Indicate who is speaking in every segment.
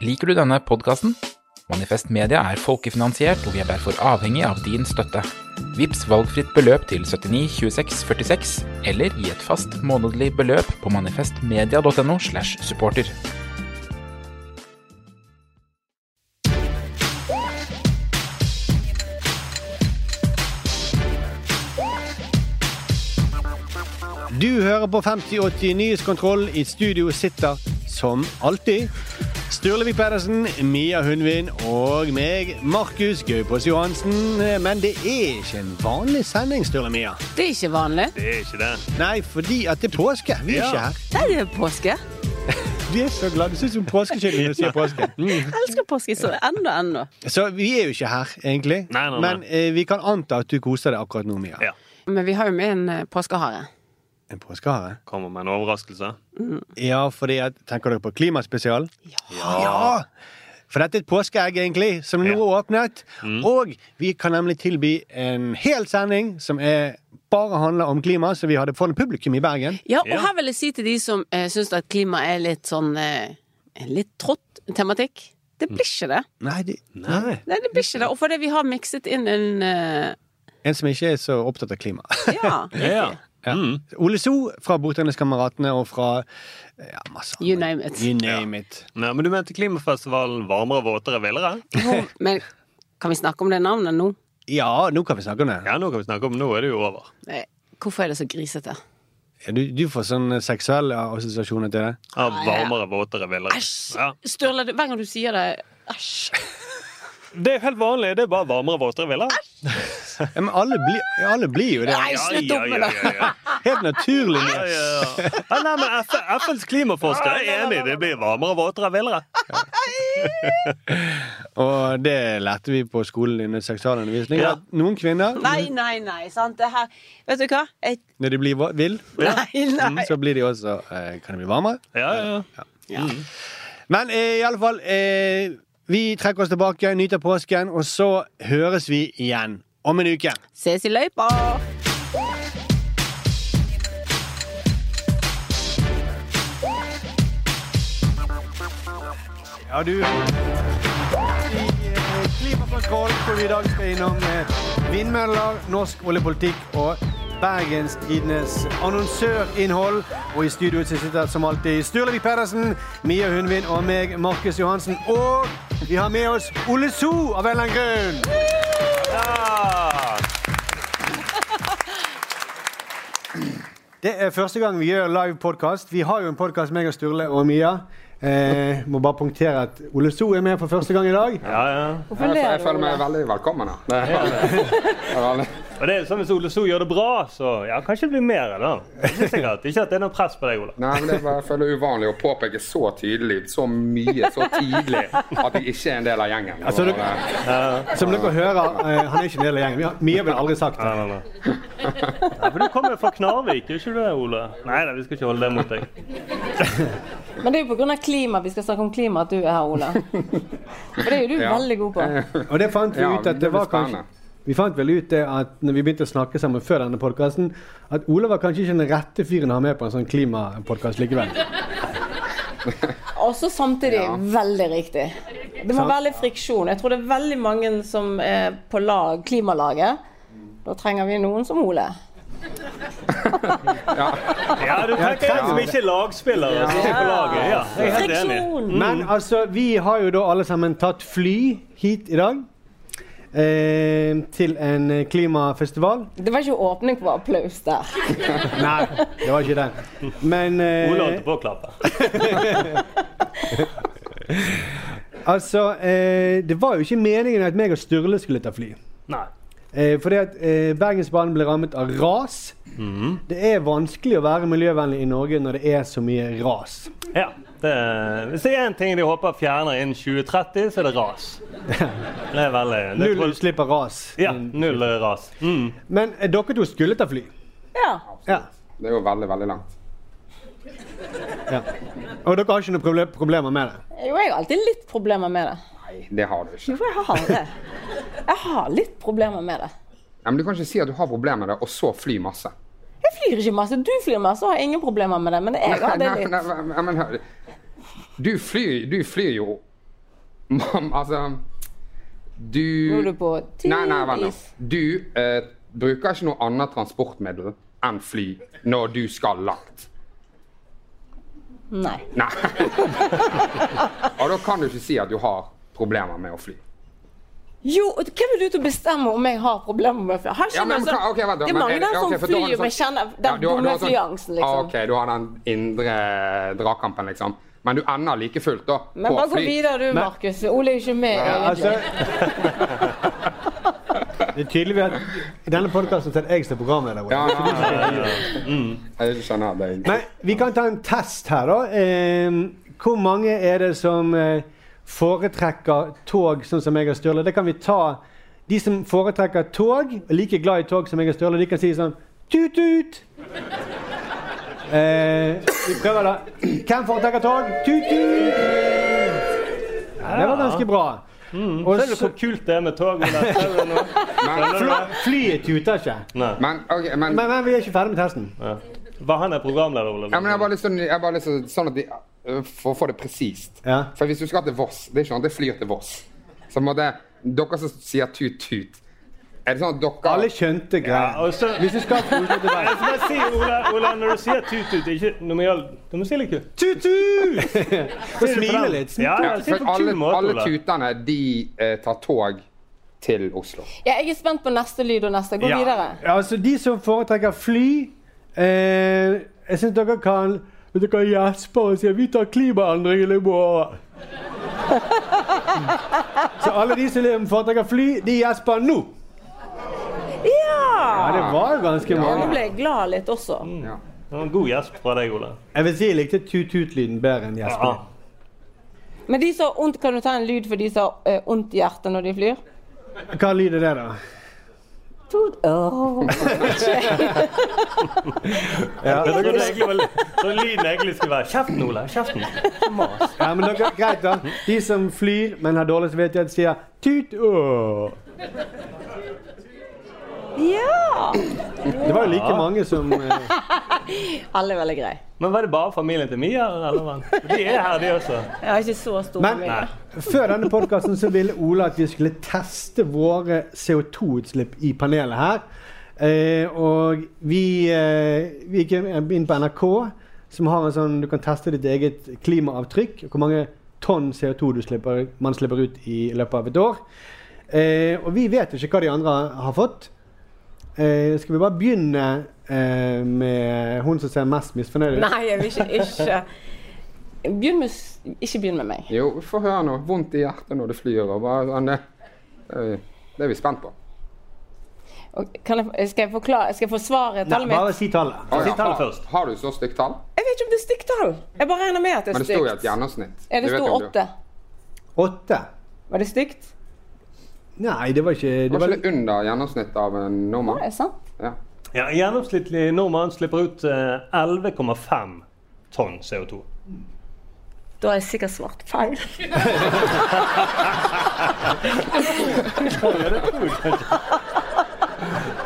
Speaker 1: Liker du denne podkasten? Manifest Media er folkefinansiert, og vi er derfor avhengig av din støtte. Vips valgfritt beløp til 79 26 46, eller gi et fast månedlig beløp på manifestmedia.no slash supporter.
Speaker 2: Du hører på 5080 Nyhetskontroll. I studio sitter, som alltid, Sturlevik Pedersen, Mia Hundvin og meg, Markus Gaupås Johansen. Men det er ikke en vanlig sending, Sturle Mia.
Speaker 3: Det er ikke vanlig.
Speaker 4: Det er ikke det.
Speaker 2: Nei, fordi at det er påske. Vi er
Speaker 4: Ja.
Speaker 2: ikke her.
Speaker 3: Nei, det er påske.
Speaker 2: Vi er så glad. Det ser ut som påskekylling når du sier påske. Mm.
Speaker 3: Jeg elsker påske så ennå, ennå.
Speaker 2: Så vi er jo ikke her, egentlig.
Speaker 4: Nei, nei, nei.
Speaker 2: Men eh, vi kan anta at du koser deg akkurat nå, Mia.
Speaker 4: Ja.
Speaker 3: Men vi har jo med en eh, påskehare.
Speaker 2: En påskehare?
Speaker 4: Kommer med en overraskelse.
Speaker 2: Ja, fordi at Tenker dere på Klimaspesial?
Speaker 3: Ja.
Speaker 2: Ja! For dette er et påskeegg, egentlig, som nå
Speaker 4: Ja.
Speaker 2: er åpnet. Og vi kan nemlig tilby en hel sending som er, bare handler om klima, så vi hadde fått publikum i Bergen.
Speaker 3: ja, og
Speaker 4: Ja.
Speaker 3: her vil jeg si til de som eh, syns at klima er litt sånn eh, en litt trått tematikk. Det blir ikke det.
Speaker 2: Nei, det,
Speaker 3: Nei, det blir ikke det. Og fordi vi har mikset inn en eh,
Speaker 2: En som ikke er så opptatt av klima.
Speaker 3: Ja,
Speaker 4: Ja.
Speaker 3: riktig.
Speaker 2: Ja. Ole So fra Bordtenniskameratene og fra ja, masse
Speaker 3: You
Speaker 2: andre.
Speaker 3: name it.
Speaker 2: You name it.
Speaker 4: Nei, men du mente klimafestivalen varmere, våtere, villere?
Speaker 3: Hvor- Men kan vi snakke om det navnet nå?
Speaker 2: Ja, nå kan vi snakke om det.
Speaker 4: Ja, nå kan vi snakke om Nå er det jo over.
Speaker 3: Eh, Hvorfor er det så grisete?
Speaker 2: Du, du får sånne seksuelle assosiasjoner til det.
Speaker 4: Ja, varmere, våtere, villere.
Speaker 3: Æsj!
Speaker 4: Ja.
Speaker 3: Sturle, du- hver gang du sier det Æsj.
Speaker 4: Det er helt vanlig. Det er bare varmere, våtere, villere.
Speaker 2: Ja, men alle, blir- ja, alle blir jo det.
Speaker 3: Nei, slutt opp med
Speaker 4: ja,
Speaker 3: det!
Speaker 4: ja, ja.
Speaker 2: Helt naturlig.
Speaker 4: Ja, ja, ja. Ja, Nei, men F FNs klimaforskere er enig. Det blir varmere, våtere, villere.
Speaker 2: Og det lærte vi på skolen under seksualundervisning.
Speaker 4: Ja.
Speaker 2: At Noen kvinner,
Speaker 3: Nei, nei, nei. Sant? Det her Vet du hva? Jeg...
Speaker 2: når de blir va- vill,
Speaker 3: Nei, nei.
Speaker 2: Mm, så blir de også eh, Kan de bli varmere?
Speaker 4: Ja, ja, ja.
Speaker 2: Men eh, i alle fall eh, Vi trekker oss tilbake, nyter påsken, og så høres vi igjen om en uke.
Speaker 3: Ses i løypa!
Speaker 2: Ja, du I eh, Klimakontroll hvor vi i dag skal innom eh, vindmøller, norsk oljepolitikk og Bergenstidenes annonsørinnhold. Og i studio sitter som alltid Sturlevik Pedersen, Mia Hundvin og meg, Markus Johansen. Og vi har med oss Ole So av en eller annen grunn.
Speaker 4: Ja.
Speaker 2: Det er første gang vi gjør live podkast. Vi har jo en podkast, meg og Sturle og Mia. Eh, må bare punktere at Ole So er med for første gang i dag.
Speaker 4: Ja, ja.
Speaker 5: Jeg, jeg føler meg veldig velkommen. da. Det er veldig-
Speaker 4: Og det er jo sånn Hvis Ole So gjør det bra, så ja, kanskje det blir mer av det. Det er Ikke sikkert. Ikke at det er noe press på deg, Ole.
Speaker 5: Nei, men det er bare, jeg føler uvanlig å påpeke så tydelig, så mye, så tidlig, at jeg ikke er en del av gjengen.
Speaker 2: Altså, du-
Speaker 5: Det var, eh,
Speaker 2: Som dere hører, eh, han er ikke en del av gjengen. Vi har- Mia ville aldri sagt det.
Speaker 4: Nei, nei, nei. Ja, for du kommer fra Knarvik, gjør ikke du det, Ole? Nei, nei, vi skal ikke holde det mot deg.
Speaker 3: Men det er jo pga. klima vi skal snakke om klima at du er her, Ola. For det er jo du
Speaker 5: Ja.
Speaker 3: veldig god på.
Speaker 2: Og det fant vi
Speaker 5: Ja,
Speaker 2: ut
Speaker 5: det
Speaker 2: at det
Speaker 5: blir
Speaker 2: var kanskje
Speaker 5: spennende.
Speaker 2: Vi fant vel ut det at når vi begynte å snakke sammen før denne podkasten, at Ole var kanskje ikke den rette fyren å ha med på en sånn klimapodkast likevel.
Speaker 3: Også samtidig veldig riktig. Det var veldig friksjon. Jeg tror det er veldig mange som eh, er på lag, klimalaget. Da trenger vi noen som Ole.
Speaker 4: Ja, du tenker en som ikke er lagspiller. som ikke er på laget. Ja, jeg er helt enig.
Speaker 5: Mm.
Speaker 3: Friksjon!
Speaker 2: Men altså, vi har jo da alle sammen tatt fly hit i dag. Eh, til en eh, klimafestival.
Speaker 3: Det var ikke åpning på applaus der.
Speaker 2: Nei, det var ikke den. Men eh,
Speaker 4: Ole holdt på å klappe.
Speaker 2: altså eh, Det var jo ikke meningen at meg og Sturle skulle ta fly.
Speaker 4: Nei.
Speaker 2: Eh, fordi at eh, Bergensbanen ble rammet av ras. Det er vanskelig å være miljøvennlig i Norge når det er så mye ras.
Speaker 4: Ja, det, Hvis det er én ting de håper fjerner innen 2030, så er det ras. Det er veldig det
Speaker 2: Null
Speaker 4: tror-
Speaker 2: utslipp av ras.
Speaker 4: Ja, null eh, ras. Mm.
Speaker 2: Men eh, dere to skulle ta fly.
Speaker 3: Ja.
Speaker 2: Ja.
Speaker 5: det er jo veldig, veldig langt.
Speaker 2: ja. Og dere har ikke noen proble problemer med det?
Speaker 3: Jo, jeg har alltid litt problemer med det.
Speaker 5: Nei, det har du ikke.
Speaker 3: Jo, jeg har det. Jeg har litt problemer med det.
Speaker 5: Nei, men du kan ikke si at du har problemer med det, og så fly masse.
Speaker 3: Jeg flyr ikke masse. Du flyr masse og har ingen problemer med det. Men jeg har det
Speaker 5: Nei,
Speaker 3: litt.
Speaker 5: nei, nei, nei, men hør. Du flyr, du flyr jo Mam, altså Du
Speaker 3: Nå er du på tynn
Speaker 5: Nei, nei, vent nå.
Speaker 3: is.
Speaker 5: Du eh, bruker ikke noe annet transportmiddel enn fly når du skal langt.
Speaker 3: Nei.
Speaker 5: Nei. Og da kan du ikke si at du har problemer med å fly.
Speaker 3: Jo, og hvem er du til å bestemme om jeg har problemer med å fly? Har ikke
Speaker 5: Ja, men-
Speaker 3: man sånn-
Speaker 5: ok, vent da,
Speaker 3: det er
Speaker 5: men
Speaker 3: mange
Speaker 5: er det-
Speaker 3: der som
Speaker 5: ok, for da har du
Speaker 3: flyr med
Speaker 5: sånn-
Speaker 3: kjenner
Speaker 5: Ja,
Speaker 3: den
Speaker 5: du har- du
Speaker 3: dumme
Speaker 5: har sånn-
Speaker 3: flyangsten,
Speaker 5: Ah,
Speaker 3: liksom.
Speaker 5: ok, du har den indre dragkampen, liksom. Men du ender like fullt, da.
Speaker 3: Men
Speaker 5: på
Speaker 3: bare gå
Speaker 5: fly.
Speaker 3: videre du, Markus. Ole er ikke med,
Speaker 2: Altså,
Speaker 3: egentlig.
Speaker 2: det er tydelig at i denne podkasten er jeg som er programleder.
Speaker 5: Ja,
Speaker 2: Ja.
Speaker 5: ja, ja, ja, ja. Jeg skjønner det.
Speaker 2: Men vi kan ta en test her, da. Eh, hvor mange er det som eh, foretrekker tog, sånn som jeg og Sturle? Det kan vi ta. De som foretrekker tog, er like glad i tog som jeg og Sturle, de kan si sånn tut-tut. Eh, vi prøver, da. Hvem foretrekker tog? Tut-tut. Ja, det var ganske bra. Og
Speaker 4: Ser du
Speaker 2: så,
Speaker 4: hvor kult det Mm. er med tog? Ole? Ser du det nå? Skjønner du
Speaker 2: fly,
Speaker 4: det?
Speaker 2: flyet tuter ikke.
Speaker 5: Men, ok, men,
Speaker 2: Men, men vi er ikke ferdig med testen.
Speaker 4: Var han er programleder, Ole?
Speaker 5: ja, men jeg har bare lyst til, jeg har bare lyst til sånn at de, øh, For å få det presist.
Speaker 2: Ja.
Speaker 5: For hvis du skal til Voss Det er ikke sånn at jeg flyr til Voss. Så må det Dere som sier tut-tut Er det sånn at dere
Speaker 2: Alle skjønte
Speaker 4: Ja,
Speaker 2: greia.
Speaker 4: og så-
Speaker 2: Hvis du skal til Oslo til
Speaker 4: Jeg skal bare si, Ole, Ole, når du sier tut-tut, ikke når vi gjør- Du må si litt kult.
Speaker 2: Tutu! Og smile litt.
Speaker 4: Ja,
Speaker 5: ja,
Speaker 4: ja, si det
Speaker 5: for
Speaker 4: på en
Speaker 5: alle,
Speaker 4: kul måte,
Speaker 5: alle
Speaker 4: Ole.
Speaker 5: tutene, de eh, tar tog til Oslo.
Speaker 3: Ja, jeg er spent på neste lyd og neste. Gå
Speaker 4: Ja.
Speaker 3: videre.
Speaker 2: Altså, de som foretrekker fly eh, Jeg syns dere kan Vet dere hva gjespe og si 'vi tar klimaendringene på året'. Så alle de som liksom foretrekker fly, de gjesper nå. Ja,
Speaker 3: Ja!
Speaker 2: det var ganske
Speaker 3: Nå
Speaker 2: mange.
Speaker 3: ble jeg glad litt også.
Speaker 4: Det var en god gjesp fra deg, Ah. Ole.
Speaker 2: Jeg vil si jeg likte tut-tut-lyden bedre enn
Speaker 4: Ja.
Speaker 2: gjesping.
Speaker 3: Men de som har vondt, kan du ta en lyd for de som har eh, vondt i hjertet når de flyr?
Speaker 2: Hva lyd er det, da?
Speaker 3: Tut- Åh.
Speaker 4: Jeg trodde egentlig var så lyden egentlig skulle være Kjeften, Ole! Kjeften!
Speaker 2: Ja, men dere, greit da. De som flyr, men har dårlig samvittighet, sier tut åh.
Speaker 3: Ja!
Speaker 2: Det var jo like mange som eh,
Speaker 3: Alle er veldig greie.
Speaker 4: Men var det bare familien til Mia? Eller? hva? De er her, de også.
Speaker 3: Jeg har ikke så stor
Speaker 2: Men-
Speaker 3: familie.
Speaker 2: Før denne podkasten så ville Ola at vi skulle teste våre CO2-utslipp i panelet her. Eh, og vi, eh, vi gikk inn på NRK, som har en sånn Du kan teste ditt eget klimaavtrykk. og Hvor mange tonn CO2 du slipper, man slipper ut i løpet av et år. Eh, og vi vet jo ikke hva de andre har fått. Eh, skal vi bare begynne eh, med hun som ser mest misfornøyd ut?
Speaker 3: Nei, jeg vil ikke. ikke. Begynn med s- Ikke begynn med meg.
Speaker 5: Jo, få høre nå. Vondt i hjertet når du flyr og hva sånn det. eh, Det er vi spent på.
Speaker 3: Og Kan jeg, eh, skal jeg forklare Skal jeg forsvare
Speaker 2: Nei,
Speaker 3: tallet
Speaker 2: bare
Speaker 3: mitt?
Speaker 2: si tallet. Si
Speaker 5: ja.
Speaker 4: tallet først.
Speaker 5: Har du så stygt tall?
Speaker 3: Jeg vet ikke om det er stygt tall. Jeg bare regner med at det
Speaker 5: Men
Speaker 3: er
Speaker 5: det står jo et
Speaker 3: stygt.
Speaker 5: gjennomsnitt.
Speaker 3: Ja, det
Speaker 5: vet
Speaker 3: sto
Speaker 5: jo du.
Speaker 3: åtte.
Speaker 2: Åtte?
Speaker 3: Var det stygt?
Speaker 2: Nei, det var ikke det
Speaker 5: Var
Speaker 2: var,
Speaker 5: ikke det under gjennomsnitt av en
Speaker 3: Var
Speaker 5: nordmann?
Speaker 3: det sant?
Speaker 5: Ja.
Speaker 4: Ja, gjennomsnittlig nordmann slipper ut eh, 11,5 tonn CO2.
Speaker 3: Da har jeg sikkert svart feil.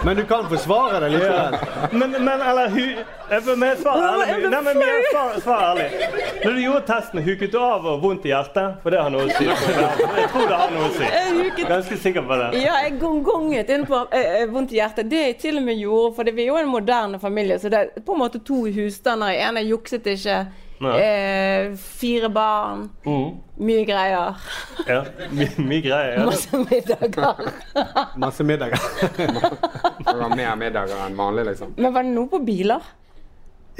Speaker 2: Men du kan forsvare det likevel.
Speaker 4: Men, men eller hu... Jeg får- men svar ærlig. Nei, men men svar, svar ærlig. Når du gjorde testen, huket du av og vondt i hjertet? For det har noe å si. Jeg tror det har noe å si.
Speaker 3: Jeg huket
Speaker 4: Ganske sikker på det.
Speaker 3: Ja, jeg gongonget inn på eh, eh, vondt i hjertet. Det jeg til og med gjorde, for vi er jo en moderne familie, så det er på en måte to husstander. I ene jukset ikke.
Speaker 4: Nei.
Speaker 3: Eh, fire barn. Mye greier.
Speaker 4: Ja, mye, mye greier. Ja.
Speaker 3: Masse middager.
Speaker 2: Masse middager.
Speaker 5: Det var mer middager enn vanlig, liksom.
Speaker 3: Men var det noe på biler?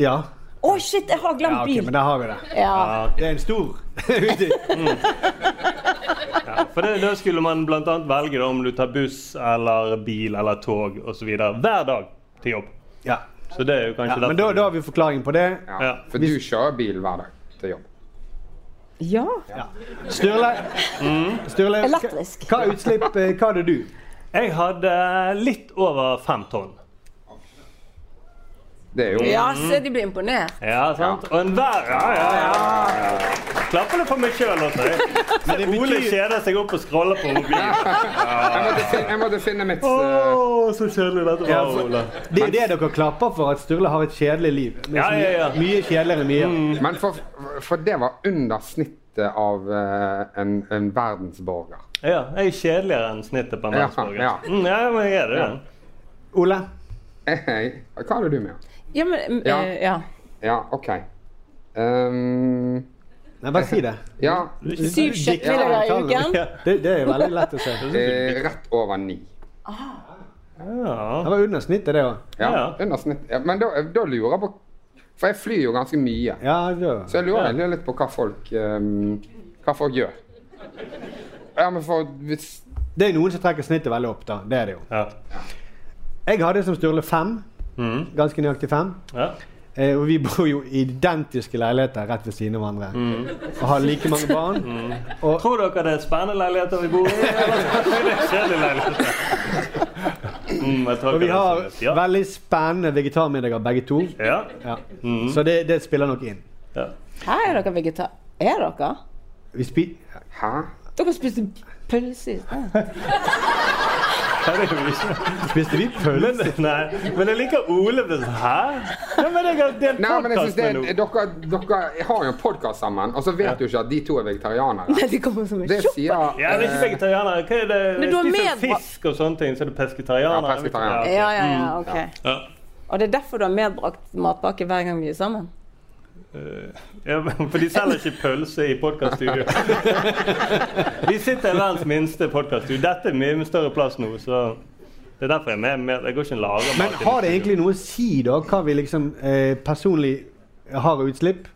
Speaker 2: Ja.
Speaker 3: Å, shit, jeg har
Speaker 2: ja
Speaker 3: glemt
Speaker 2: ok, men
Speaker 3: bil!
Speaker 2: der har vi det.
Speaker 3: Ja.
Speaker 2: Det er en stor utgift.
Speaker 4: For det, da skulle man bl.a. velge da om du tar buss eller bil eller tog osv. hver dag til jobb.
Speaker 2: Ja.
Speaker 4: Så det er jo
Speaker 2: ja.
Speaker 4: kanskje
Speaker 2: Men da, da har vi forklaringen på det.
Speaker 5: Ja.
Speaker 4: Ja.
Speaker 5: For du kjører bil hver dag til jobb.
Speaker 3: ja.
Speaker 2: Sturle,
Speaker 5: Mm.
Speaker 2: Sturle
Speaker 3: Elektrisk.
Speaker 2: hva utslipp eh, Hva hadde du?
Speaker 4: Jeg hadde litt over fem tonn.
Speaker 5: Det er jo
Speaker 3: Ja, se, de blir imponert.
Speaker 4: Ja, sant? Og enhver Ja, ja, ja. Klapper det for meg sjøl også. jeg. Men Ole kjeder seg opp og scroller på mobilen.
Speaker 5: Jeg måtte finne, jeg måtte finne mitt
Speaker 4: Å,
Speaker 5: eh,
Speaker 4: så kjedelig dette
Speaker 2: Ja,
Speaker 4: var,
Speaker 2: for-
Speaker 4: Ole.
Speaker 2: Det er det dere klapper for, at Sturle har et kjedelig liv. Men
Speaker 4: Ja,
Speaker 2: så
Speaker 4: ja, ja.
Speaker 2: Mye mye kjedeligere enn mye.
Speaker 5: Men for, for det var under snittet av eh, en, en verdensborger.
Speaker 4: Ja, jeg er kjedeligere enn snittet på en
Speaker 5: Ja,
Speaker 4: verdensborger.
Speaker 5: ja.
Speaker 4: Mm, ja, men jeg er det. ja.
Speaker 2: Ole?
Speaker 5: Hei, hva hadde du med?
Speaker 3: Ja, men
Speaker 5: Ja.
Speaker 3: eh, ja.
Speaker 5: Ja, OK. Ehm,
Speaker 2: Nei, bare si det.
Speaker 5: ja,
Speaker 3: Syv kjøttmiddager i uken.
Speaker 2: Ja, Det, det er veldig lett å se.
Speaker 5: eh, rett over ni.
Speaker 4: Ja.
Speaker 2: Det var under snittet, det òg.
Speaker 5: Ja,
Speaker 4: Ja.
Speaker 5: Under snitt. Ja, men da, da lurer jeg på For jeg flyr jo ganske mye.
Speaker 2: Ja, da-
Speaker 5: Så jeg lurer egentlig litt på hva folk, ehm, hva folk gjør. Ja, men for hvis
Speaker 2: det er noen som trekker snittet veldig opp, da. Det er det jo.
Speaker 4: Ja.
Speaker 2: Jeg hadde som Sturle fem. Ganske nøyaktig fem.
Speaker 4: Mm. Ja.
Speaker 2: Eh, og vi bor jo i identiske leiligheter rett ved siden av hverandre.
Speaker 4: Mm.
Speaker 2: Og har like mange barn.
Speaker 4: Tror dere det er spennende leiligheter vi bor i? Eller er det kjedelige leiligheter? Mm, jeg tror
Speaker 2: Og vi
Speaker 4: ikke
Speaker 2: har
Speaker 4: det er så lett. ja.
Speaker 2: veldig spennende vegetarmiddager begge to.
Speaker 4: Ja.
Speaker 2: Ja.
Speaker 4: Mm.
Speaker 2: Så det, det spiller nok inn.
Speaker 4: Ja.
Speaker 3: Her er dere vegetar... Er dere?
Speaker 2: Vi spi
Speaker 5: Hæ?
Speaker 3: Dere spiste pølse i sted.
Speaker 4: Ja, det er jo ikke.
Speaker 2: spiste vi pølse?
Speaker 4: Men, nei, men jeg liker Ole hvis Hæ? Ja, men jeg har delt
Speaker 5: Nei, men jeg synes
Speaker 4: podkast
Speaker 5: det,
Speaker 4: med noen.
Speaker 5: dere, dere har jo en podkast sammen, og så vet du ikke at de to er vegetarianere.
Speaker 3: De kommer som en
Speaker 5: Det
Speaker 3: sjokk.
Speaker 5: sier
Speaker 4: Ja, det er ikke
Speaker 5: eh,
Speaker 4: vegetarianere. Hva er det?
Speaker 3: Men du har
Speaker 4: Spiser
Speaker 3: med-
Speaker 4: fisk og sånne ting, så er det
Speaker 5: Ja,
Speaker 4: pesketarianere.
Speaker 5: pesketarianer.
Speaker 4: Ja,
Speaker 3: Ja, ja, ja, ok.
Speaker 4: Ja.
Speaker 3: Og det er derfor du har medbrakt matpakke hver gang vi er sammen?
Speaker 4: Ja, for de selger ikke pølse i podkaststudio. Vi sitter i verdens minste podkaststudio. Dette er mye med større plass nå, så det er derfor jeg er med. med. Jeg går ikke og lager
Speaker 2: Men
Speaker 4: mat.
Speaker 2: har det
Speaker 4: i mitt studio.
Speaker 2: egentlig noe å si, da, hva vi liksom eh, personlig har av utslipp?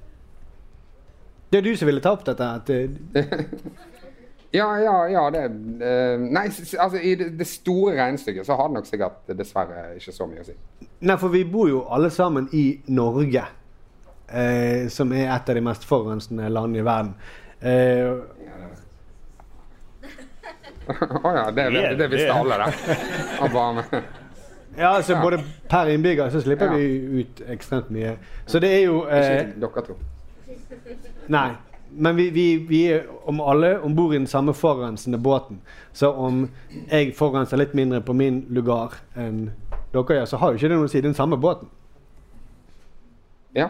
Speaker 2: Det er du som ville ta opp dette. At, eh,
Speaker 5: Ja, ja, ja, det eh, Nei, s- s- altså, i det, det store regnestykket så har det nok sikkert eh, dessverre ikke så mye å si.
Speaker 2: nei, for vi bor jo alle sammen i Norge. Eh, som er et av de mest forurensende landene i verden. Eh,
Speaker 5: Å ja, det, det, det visste alle, det. Og bare,
Speaker 2: ja, altså både per innbygger så slipper
Speaker 5: Ja.
Speaker 2: vi ut ekstremt mye. Så det er jo eh,
Speaker 5: dere to.
Speaker 2: Nei. Men vi, vi, vi er om alle om bord i den samme forurensende båten. Så om jeg forurenser litt mindre på min lugar enn dere gjør, så har jo ikke det noe å si. Det er den samme båten.
Speaker 5: Ja.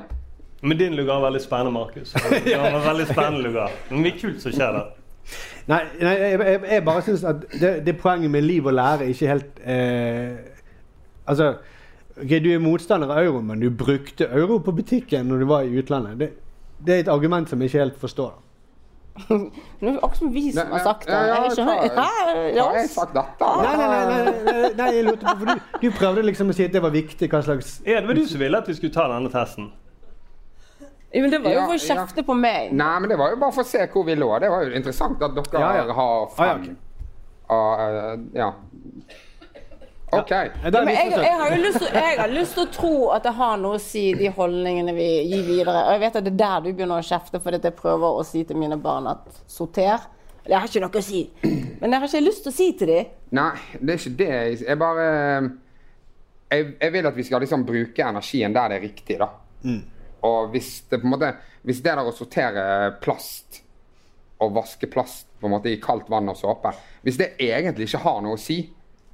Speaker 4: Men din lugar er veldig spennende, Markus. Det var en veldig spennende lugar. Men Mye kult som skjer der.
Speaker 2: Nei, nei jeg, jeg, jeg bare syns at det, det poenget med liv og lære ikke helt eh, Altså ok, Du er motstander av euro, men du brukte euro på butikken når du var i utlandet. Det, det er et argument som jeg ikke helt forstår.
Speaker 3: Nå er det akkurat som vi som har sagt det.
Speaker 5: Ja, ja,
Speaker 3: Jeg skjønner.
Speaker 5: hva-
Speaker 3: Hæ?
Speaker 5: Har jeg
Speaker 3: Lars?
Speaker 5: sagt dette?
Speaker 2: Nei, nei, nei, nei, nei, nei jeg lurte på, for du, du prøvde liksom å si at det var viktig hva slags
Speaker 4: Er det vel du som ville at vi skulle ta denne testen?
Speaker 3: Men det var jo
Speaker 5: Ja,
Speaker 3: for å
Speaker 5: ja.
Speaker 3: kjefte på meg.
Speaker 5: Nei, men det var jo bare for å se hvor vi lå. Det var jo interessant at dere
Speaker 2: Ja, ja.
Speaker 5: har
Speaker 2: Ah, ja,
Speaker 5: fem. Ah, eh, ja. OK.
Speaker 2: Ja, det er
Speaker 3: Men jeg,
Speaker 2: misforstått.
Speaker 3: jeg, har jo lyst til, jeg har lyst til å tro at det har noe å si, de holdningene vi gir videre. Og jeg vet at det er der du begynner å kjefte fordi at jeg prøver å si til mine barn at sorter. Eller jeg har ikke noe å si. Men jeg har ikke lyst til å si til dem.
Speaker 5: Nei, det er ikke det. Jeg- Jeg bare jeg, jeg vil at vi skal liksom bruke energien der det er riktig, da. Og hvis det på en måte Hvis det der å sortere plast og vaske plast på en måte i kaldt vann og såpe Hvis det egentlig ikke har noe å si,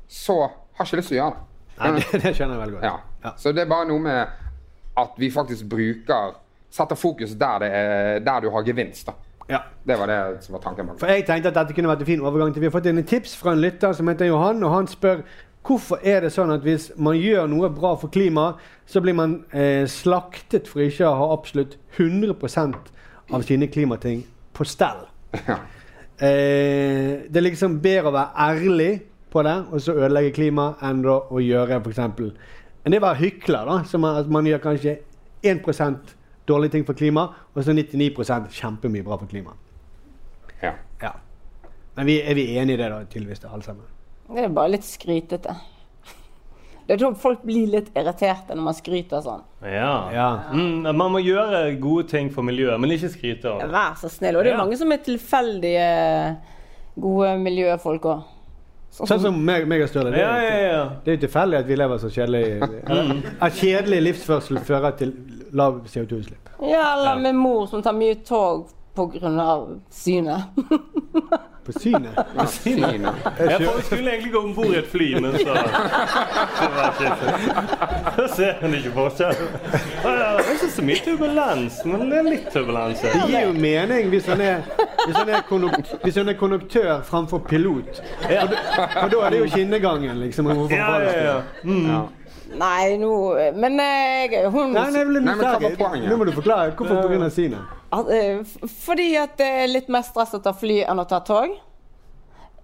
Speaker 5: så har jeg ikke lyst til å gjøre det.
Speaker 2: Nei, det, det skjønner jeg veldig godt.
Speaker 5: Ja. Så det er bare noe med at vi faktisk bruker Setter fokus der, det er, der du har gevinst, da.
Speaker 2: Ja.
Speaker 5: Det var det som var tanken bak.
Speaker 2: For jeg tenkte at dette kunne vært en fin overgang til Vi har fått inn et tips fra en lytter som heter Johan, og han spør hvorfor er det sånn at hvis man gjør noe bra for klimaet, så blir man eh, slaktet for ikke å ha absolutt 100 av sine klimating på stell?
Speaker 5: Ja.
Speaker 2: Eh, det er liksom bedre å være ærlig på det og så ødelegge klimaet enn da å gjøre f.eks. enn det å være hykler, da. Som er at man gjør kanskje 1 dårlige ting for klimaet, og så 99 kjempemye bra for klimaet.
Speaker 5: Ja.
Speaker 2: Ja. Men vi, er vi enige i det, da, tydeligvis, da, alle sammen?
Speaker 3: Det er bare litt skrytete. Det er sånn folk blir litt irriterte når man skryter sånn.
Speaker 4: Ja.
Speaker 2: Ja.
Speaker 4: Mm, man må gjøre gode ting for miljøet, men ikke skryte av det.
Speaker 3: Vær så snill. Og det er
Speaker 4: Ja.
Speaker 3: mange som er tilfeldige gode miljøfolk òg.
Speaker 2: Sånn som meg, meg og Sturle. Det,
Speaker 4: Ja,
Speaker 2: er
Speaker 4: ja,
Speaker 2: jo-
Speaker 4: ja.
Speaker 2: det er jo tilfeldig at vi lever så kjedelig. At kjedelig livsførsel fører til lav CO2-utslipp.
Speaker 3: Ja, eller med mor som tar mye tog pga. synet.
Speaker 2: På synet.
Speaker 5: Fine.
Speaker 4: Jeg får- skulle egentlig gå om bord i et fly, men så Så, var det ikke- så ser hun ikke forskjell. Ja, ja, Det er ikke så mye turbulens, men det er litt turbulens.
Speaker 2: Det gir jo mening hvis han er, hvis han er, konduk, hvis han er konduktør framfor pilot.
Speaker 4: Ja,
Speaker 2: For da er det jo kinnegangen, liksom. og hvorfor
Speaker 4: ja, ja. ja. Mm.
Speaker 3: Nei, nå Men eh, hun
Speaker 2: Nei, nei, jeg ble
Speaker 5: Nei, men hva var
Speaker 2: nysgjerrig.
Speaker 5: poenget?
Speaker 2: Nå må du forklare. Hvorfor pga. synet?
Speaker 3: Al- eh, f- Fordi at det er litt mer stress å ta fly enn å ta tog.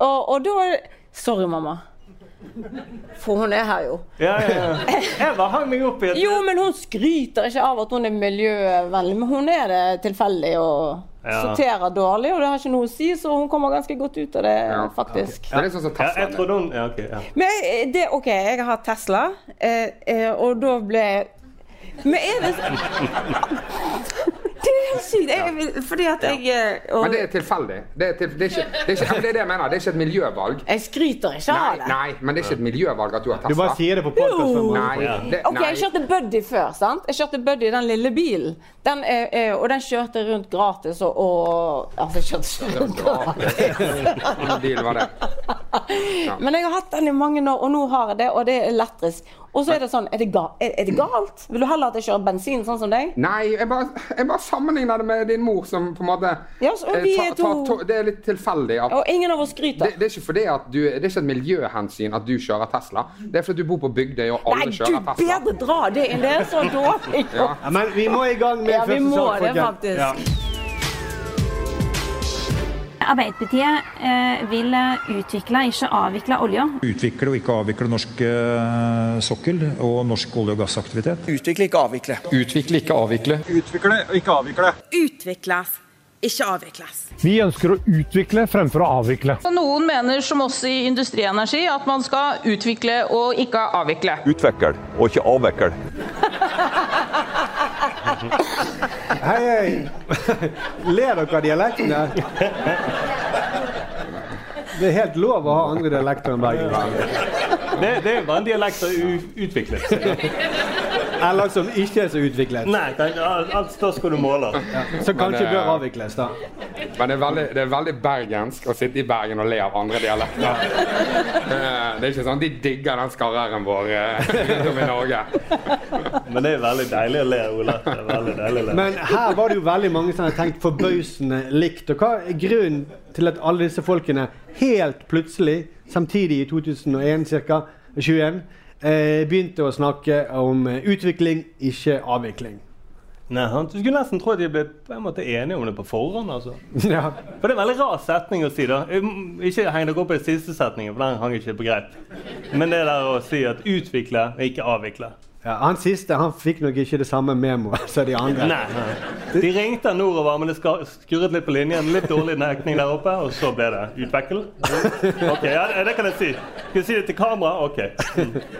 Speaker 3: Og, og da Sorry, mamma. For hun er her, jo.
Speaker 4: ja, ja, ja. Jeg bare hang meg opp i et
Speaker 3: Jo, men hun skryter ikke av at hun er miljøvennlig, men hun er det tilfeldig og
Speaker 4: Ja.
Speaker 3: sorterer dårlig, og det har ikke noe å si, så hun kommer ganske godt ut av det,
Speaker 5: Ja.
Speaker 3: faktisk.
Speaker 5: Det er litt sånn som
Speaker 4: ja,
Speaker 5: Tesla.
Speaker 4: Jeg trodde hun Ja, OK. Ja.
Speaker 3: Men jeg- det, OK, jeg har Tesla, eh, eh, og da ble jeg Men er det Det er helt sykt, jeg, fordi at jeg eh, og,
Speaker 5: Men det er tilfeldig. Det er, til, det, er ikke, det, er ikke, men det er det jeg mener. Det er ikke et miljøvalg.
Speaker 3: Jeg skryter ikke av
Speaker 5: Nei,
Speaker 3: det.
Speaker 5: nei, men det er ikke et miljøvalg at du har
Speaker 2: Du bare
Speaker 5: Tesla.
Speaker 2: sier det på podkast.
Speaker 5: Nei, det,
Speaker 3: Ok,
Speaker 5: nei.
Speaker 3: Jeg kjørte Buddy før. sant? Jeg kjørte Buddy i den lille bilen. Den, eh, eh, og den kjørte rundt gratis og, og Altså, jeg kjørte rundt gratis.
Speaker 5: Hvilken deal var det?
Speaker 3: Men jeg har hatt den i mange år, og nå har jeg det, og det er elektrisk. Og så er det sånn Er det, ga er, er det galt? Vil du heller at jeg kjører bensin, sånn som deg?
Speaker 5: Nei, jeg bare, jeg bare sammenligner det med din mor som på en måte
Speaker 3: Ja, så
Speaker 5: eh,
Speaker 3: vi
Speaker 5: tar-
Speaker 3: er
Speaker 5: tar
Speaker 3: to.
Speaker 5: to- Det er litt tilfeldig at
Speaker 3: Og ingen av oss
Speaker 5: det,
Speaker 3: skryter.
Speaker 5: det er ikke fordi at du, det er ikke et miljøhensyn at du kjører Tesla. Det er fordi du bor på Bygdøy og alle
Speaker 3: Nei, du
Speaker 5: kjører Tesla.
Speaker 3: bedre dra det inn. Det er så dårlig. Ja,
Speaker 2: Ja, men vi må i gang med
Speaker 3: vi
Speaker 2: første
Speaker 3: må
Speaker 2: sak.
Speaker 3: det,
Speaker 2: folkens.
Speaker 3: faktisk.
Speaker 4: Ja.
Speaker 6: Arbeiderpartiet eh, vil eh, utvikle, ikke avvikle olja.
Speaker 7: Utvikle og ikke avvikle norsk eh, sokkel og norsk olje- og gassaktivitet.
Speaker 8: Utvikle, ikke avvikle.
Speaker 5: Utvikle, ikke avvikle.
Speaker 7: Utvikle og ikke avvikle.
Speaker 9: Utvikles, ikke avvikles.
Speaker 7: Vi ønsker å utvikle fremfor å avvikle.
Speaker 9: Noen mener, som oss i Industrienergi, at man skal utvikle og ikke avvikle.
Speaker 7: Utvikle og ikke avvikle.
Speaker 2: Hei, hei. Ler dere av dialektene? Det er helt lov å ha andre dialekter enn bergensk.
Speaker 4: Det, det er bare en dialekt som er u- utviklet.
Speaker 2: Eller som ikke er så utviklet.
Speaker 4: Nei, kan- alt alt står skal du måle.
Speaker 2: Som kanskje
Speaker 5: Men, eh,
Speaker 2: bør avvikles, da.
Speaker 5: Men det er, veldig, det er veldig bergensk å sitte i Bergen og le av andre dialekter. Eh, Det er ikke sånn de digger den skarreren vår eh, rundt om i Norge.
Speaker 4: Men det er veldig deilig å le, Ole. Det er veldig deilig å le.
Speaker 2: Men her var det jo veldig mange som hadde tenkt forbausende likt. Og hva er grunnen til at alle disse folkene helt plutselig, samtidig i 2001 ca., 21, eh, begynte å snakke om eh, utvikling, ikke avvikling?
Speaker 4: Nei, sant? Du skulle nesten tro at de ble på en måte enige om det på forhånd. altså.
Speaker 2: Ja.
Speaker 4: For det er en veldig rar setning å si. da. Um, Ikke heng dere opp i den siste setningen, for den hang ikke på greip. Men det der å si at utvikle, ikke avvikle.
Speaker 2: Ja, han siste han fikk nok ikke det samme memoet som de andre.
Speaker 4: Nei, nei. De ringte nordover, men det ska- skurret litt på linjen. Litt dårlig dekning der oppe, og så ble det utpekkel. Ok, ja, det kan jeg si. Skal jeg si det til kamera? Ok.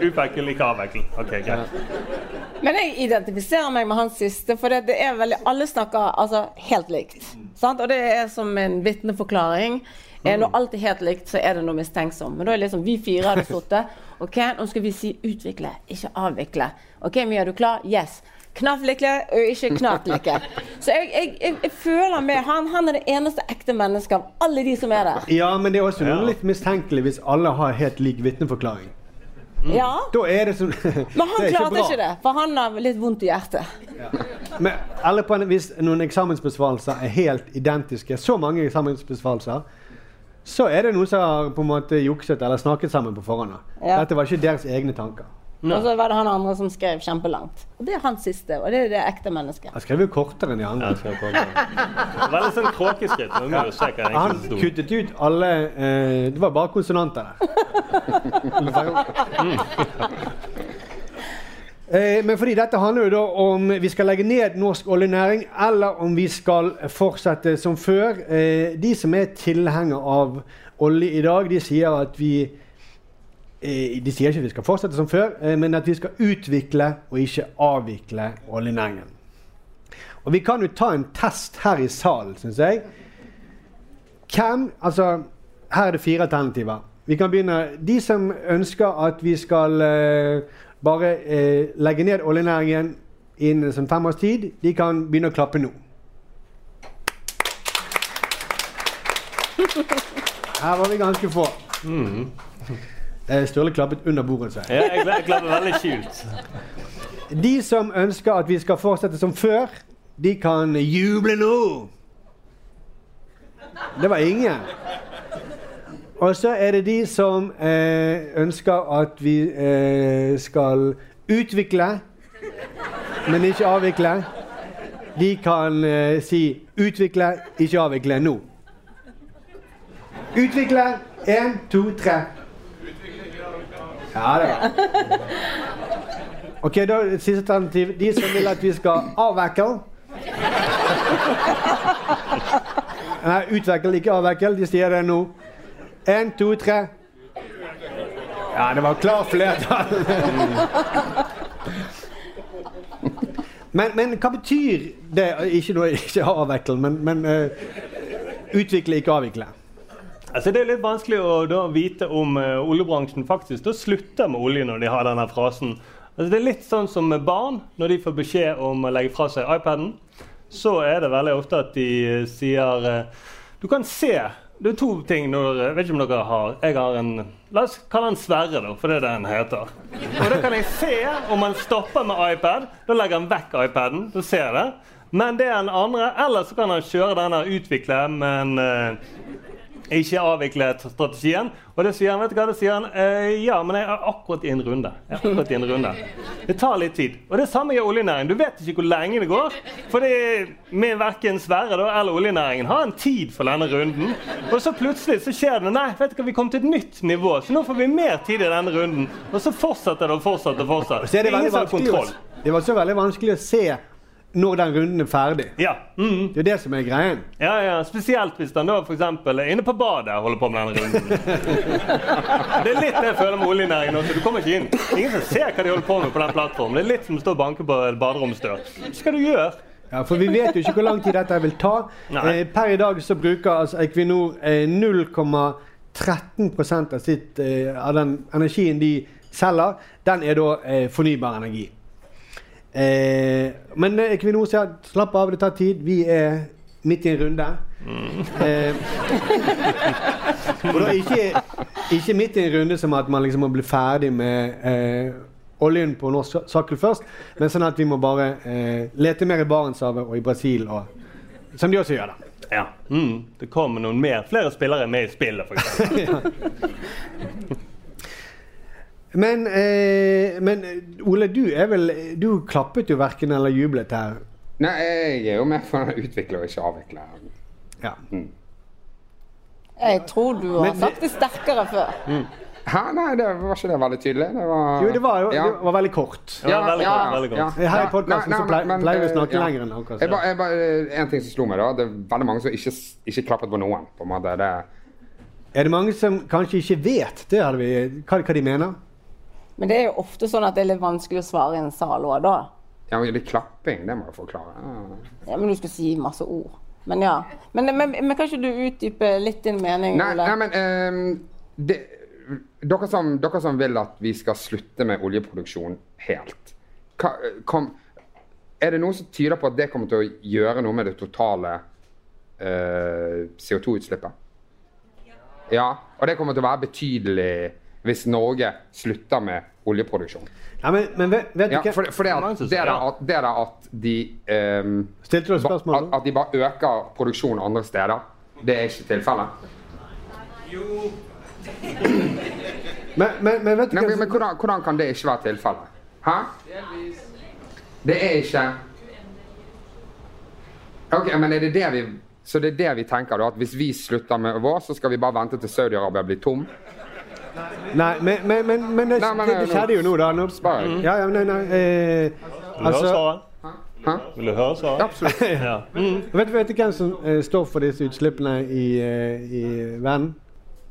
Speaker 4: Utpekkel, ikke avvekkel. Ok, greit.
Speaker 3: Men jeg identifiserer meg med han siste, for det, det er veldig, alle snakker altså, helt likt. Sant? Og det er som en vitneforklaring. Eh, Når alt er helt likt, så er det noe mistenksomt. Men da er det liksom vi fire hadde sittet. OK, nå skal vi si utvikle, ikke avvikle. OK, Mia, er du klar? Yes. Knaflikle og ikke knaflikle. Så jeg, jeg, jeg, jeg føler med han. Han er det eneste ekte mennesket av alle de som er der.
Speaker 2: Ja, men det er også noe litt mistenkelig hvis alle har helt lik vitneforklaring.
Speaker 3: Ja.
Speaker 2: Da er Mm. det som
Speaker 3: Men han
Speaker 2: det er
Speaker 3: klarte
Speaker 2: bra.
Speaker 3: ikke det, for han har litt vondt i hjertet.
Speaker 2: Men alle på en, hvis noen eksamensbesvarelser er helt identiske, så mange eksamensbesvarelser, så er det noen som har på en måte jukset eller snakket sammen på forhånd. da.
Speaker 3: Ja.
Speaker 2: Dette var ikke deres egne tanker.
Speaker 3: Og så var det han andre som skrev kjempelangt. Og det er hans siste, og det er det ekte mennesket.
Speaker 2: Han skrev jo kortere enn de andre.
Speaker 4: Veldig sånn kråkeskritt. men Vi må jo se hva det
Speaker 2: Han
Speaker 4: egentlig sto.
Speaker 2: kuttet ut alle eh, Det var bare konsonanter der. Eh, Men fordi dette handler jo da om vi skal legge ned norsk oljenæring, eller om vi skal fortsette som før. Eh, De som er tilhenger av olje i dag, de sier at vi eh, De sier ikke at vi skal fortsette som før, eh, men at vi skal utvikle og ikke avvikle oljenæringen. Og vi kan jo ta en test her i salen, syns jeg. Hvem Altså, her er det fire alternativer. Vi kan begynne. De som ønsker at vi skal eh, bare eh, legge ned oljenæringen innen sånn fem års tid, de kan begynne å klappe nå. Her var vi ganske få. Eh, Sturle klappet under bordet, sa
Speaker 4: Ja, jeg ble- jeg ble veldig skjult.
Speaker 2: De som ønsker at vi skal fortsette som før, de kan juble nå. Det var ingen. Og så er det de som eh, ønsker at vi eh, skal utvikle, men ikke avvikle. De kan eh, si 'utvikle, ikke avvikle' nå. Utvikle. Én, to, tre. Ja, det var Ok, da er det siste alternativ. De som vil at vi skal avvekle Nei, utvikle, ikke avvekle. De sier det nå. Én, to, tre. Ja, det var klart flertall. Men, men hva betyr det Ikke noe ikke avvekle, men, men eh, utvikle, ikke avvikle.
Speaker 4: Altså, det er litt vanskelig å da vite om eh, oljebransjen faktisk da slutter med olje når de har denne frasen. Altså, det er litt sånn som med barn. Når de får beskjed om å legge fra seg iPaden, så er det veldig ofte at de eh, sier eh, Du kan se Det er to ting når Jeg vet ikke om dere har Jeg har en La oss kalle han Sverre, da, for det er det han heter. Og da kan jeg se om han stopper med iPad. Da legger han vekk iPaden. Da ser jeg det. Men det er en andre. Eller så kan han kjøre denne utvikle, men eh, ikke avviklet strategien. Og det sier han, vet du hva det sier han? Eh, ja, men jeg er akkurat i en runde. Jeg er akkurat i en runde. Det tar litt tid. Og det samme gjør oljenæringen. Du vet ikke hvor lenge det går. For det med verken Sverre da, eller oljenæringen har en tid for denne runden. Og så plutselig så skjer det Nei, vet du hva, vi kom til et nytt nivå. Så nå får vi mer tid i denne runden. Og så fortsetter det og fortsetter og fortsetter.
Speaker 2: Og så er det
Speaker 4: Ingen
Speaker 2: veldig
Speaker 4: som har
Speaker 2: vanskelig å-
Speaker 4: kontroll.
Speaker 2: Det var så veldig vanskelig å se når den runden er ferdig.
Speaker 4: Mm.
Speaker 2: Det er det som er greien.
Speaker 4: Ja, ja, Spesielt hvis han da for eksempel er inne på badet og holder på med denne runden. Det er litt det jeg føler med oljenæringen også. Du kommer ikke inn. Det er Ingen som ser hva de holder på med på den plattformen. Det er litt som å stå og banke på et baderomsdør. Hva skal du gjøre?
Speaker 2: Ja, for vi vet jo ikke hvor lang tid dette vil ta.
Speaker 4: Nei.
Speaker 2: Eh, per i dag så bruker altså Equinor eh, 0,13 av, sitt, eh, av den energien de selger, den er da eh, fornybar energi. Eh, men eh, Equinor sier at slapp av, det tar tid. Vi er midt i en runde. Eh, og da ikke, ikke midt i en runde som at man liksom må bli ferdig med eh, oljen på norsk sokkel først, men sånn at vi må bare eh, lete mer i Barentshavet og i Brasil, og, som de også gjør, da.
Speaker 4: Ja. Mm, det kommer noen mer. Flere spillere er med i spillet, for eksempel.
Speaker 2: Men, eh, men eh, Ole, du er vel Du klappet jo verken eller jublet her.
Speaker 5: Nei, jeg er jo med for å utvikle og ikke avvikle.
Speaker 2: Ja.
Speaker 3: Jeg tror du har
Speaker 2: Men det-
Speaker 3: sagt det sterkere før.
Speaker 5: Hæ? Nei, det var ikke det veldig tydelig. Det var,
Speaker 2: Jo, det var, jo,
Speaker 5: Ja.
Speaker 2: det var veldig kort.
Speaker 5: Ja, veldig kort,
Speaker 2: Ja,
Speaker 5: veldig kort.
Speaker 2: Her i
Speaker 5: Ja.
Speaker 2: podkasten
Speaker 5: Nei, nei, men-
Speaker 2: pleier vi å
Speaker 5: men,
Speaker 2: snakke
Speaker 5: ja.
Speaker 2: lenger enn akkurat
Speaker 5: Jeg ba, jeg ba, eh, en ting som slo meg, da. Det er veldig mange som ikke, ikke klappet på noen. på en måte. Det,
Speaker 2: Er det mange som kanskje ikke vet det hadde vi, hva, hva de mener?
Speaker 3: Men det er jo ofte sånn at det er litt vanskelig å svare i en sal òg, da.
Speaker 5: ja, men litt klapping, det må jeg forklare.
Speaker 3: Ja, men du skal si masse ord. Men ja. Men, men, men kan ikke du utdype litt din mening,
Speaker 5: Nei,
Speaker 3: Ole?
Speaker 5: nei men ehm, det, dere, som, dere som vil at vi skal slutte med oljeproduksjon helt hva, kom, Er det noe som tyder på at det kommer til å gjøre noe med det totale eh, CO2-utslippet? Ja. Og det kommer til å være betydelig hvis Norge slutter med oljeproduksjon.
Speaker 2: Nei, men, men vet, vet du
Speaker 5: Ja,
Speaker 2: hva
Speaker 5: for, for det at, det er at, det er at de ehm, ba- at, at de bare øker produksjonen andre steder, det er ikke tilfellet.
Speaker 2: Men, vet
Speaker 5: du men, men hvordan, hvordan kan det ikke være tilfellet? Hæ? Det er ikke Ok, men er det det vi Så det er det vi tenker, da? At hvis vi slutter med vår, så skal vi bare vente til Saudi-Arabia blir tom?
Speaker 2: Nei, men, men, men, men, det,
Speaker 5: Nei, men,
Speaker 2: det,
Speaker 5: nei,
Speaker 2: det skjedde jo nå, da. Nå,
Speaker 5: jeg.
Speaker 2: ja, ja, nei, nei, eh,
Speaker 4: Vil du høre
Speaker 5: Altså-
Speaker 4: svaret?
Speaker 5: Hæ?
Speaker 4: Vil du høre svaret?
Speaker 5: Absolutt.
Speaker 4: ja.
Speaker 2: Vet, vet du hvem som eh, står for disse utslippene i, eh, i verden?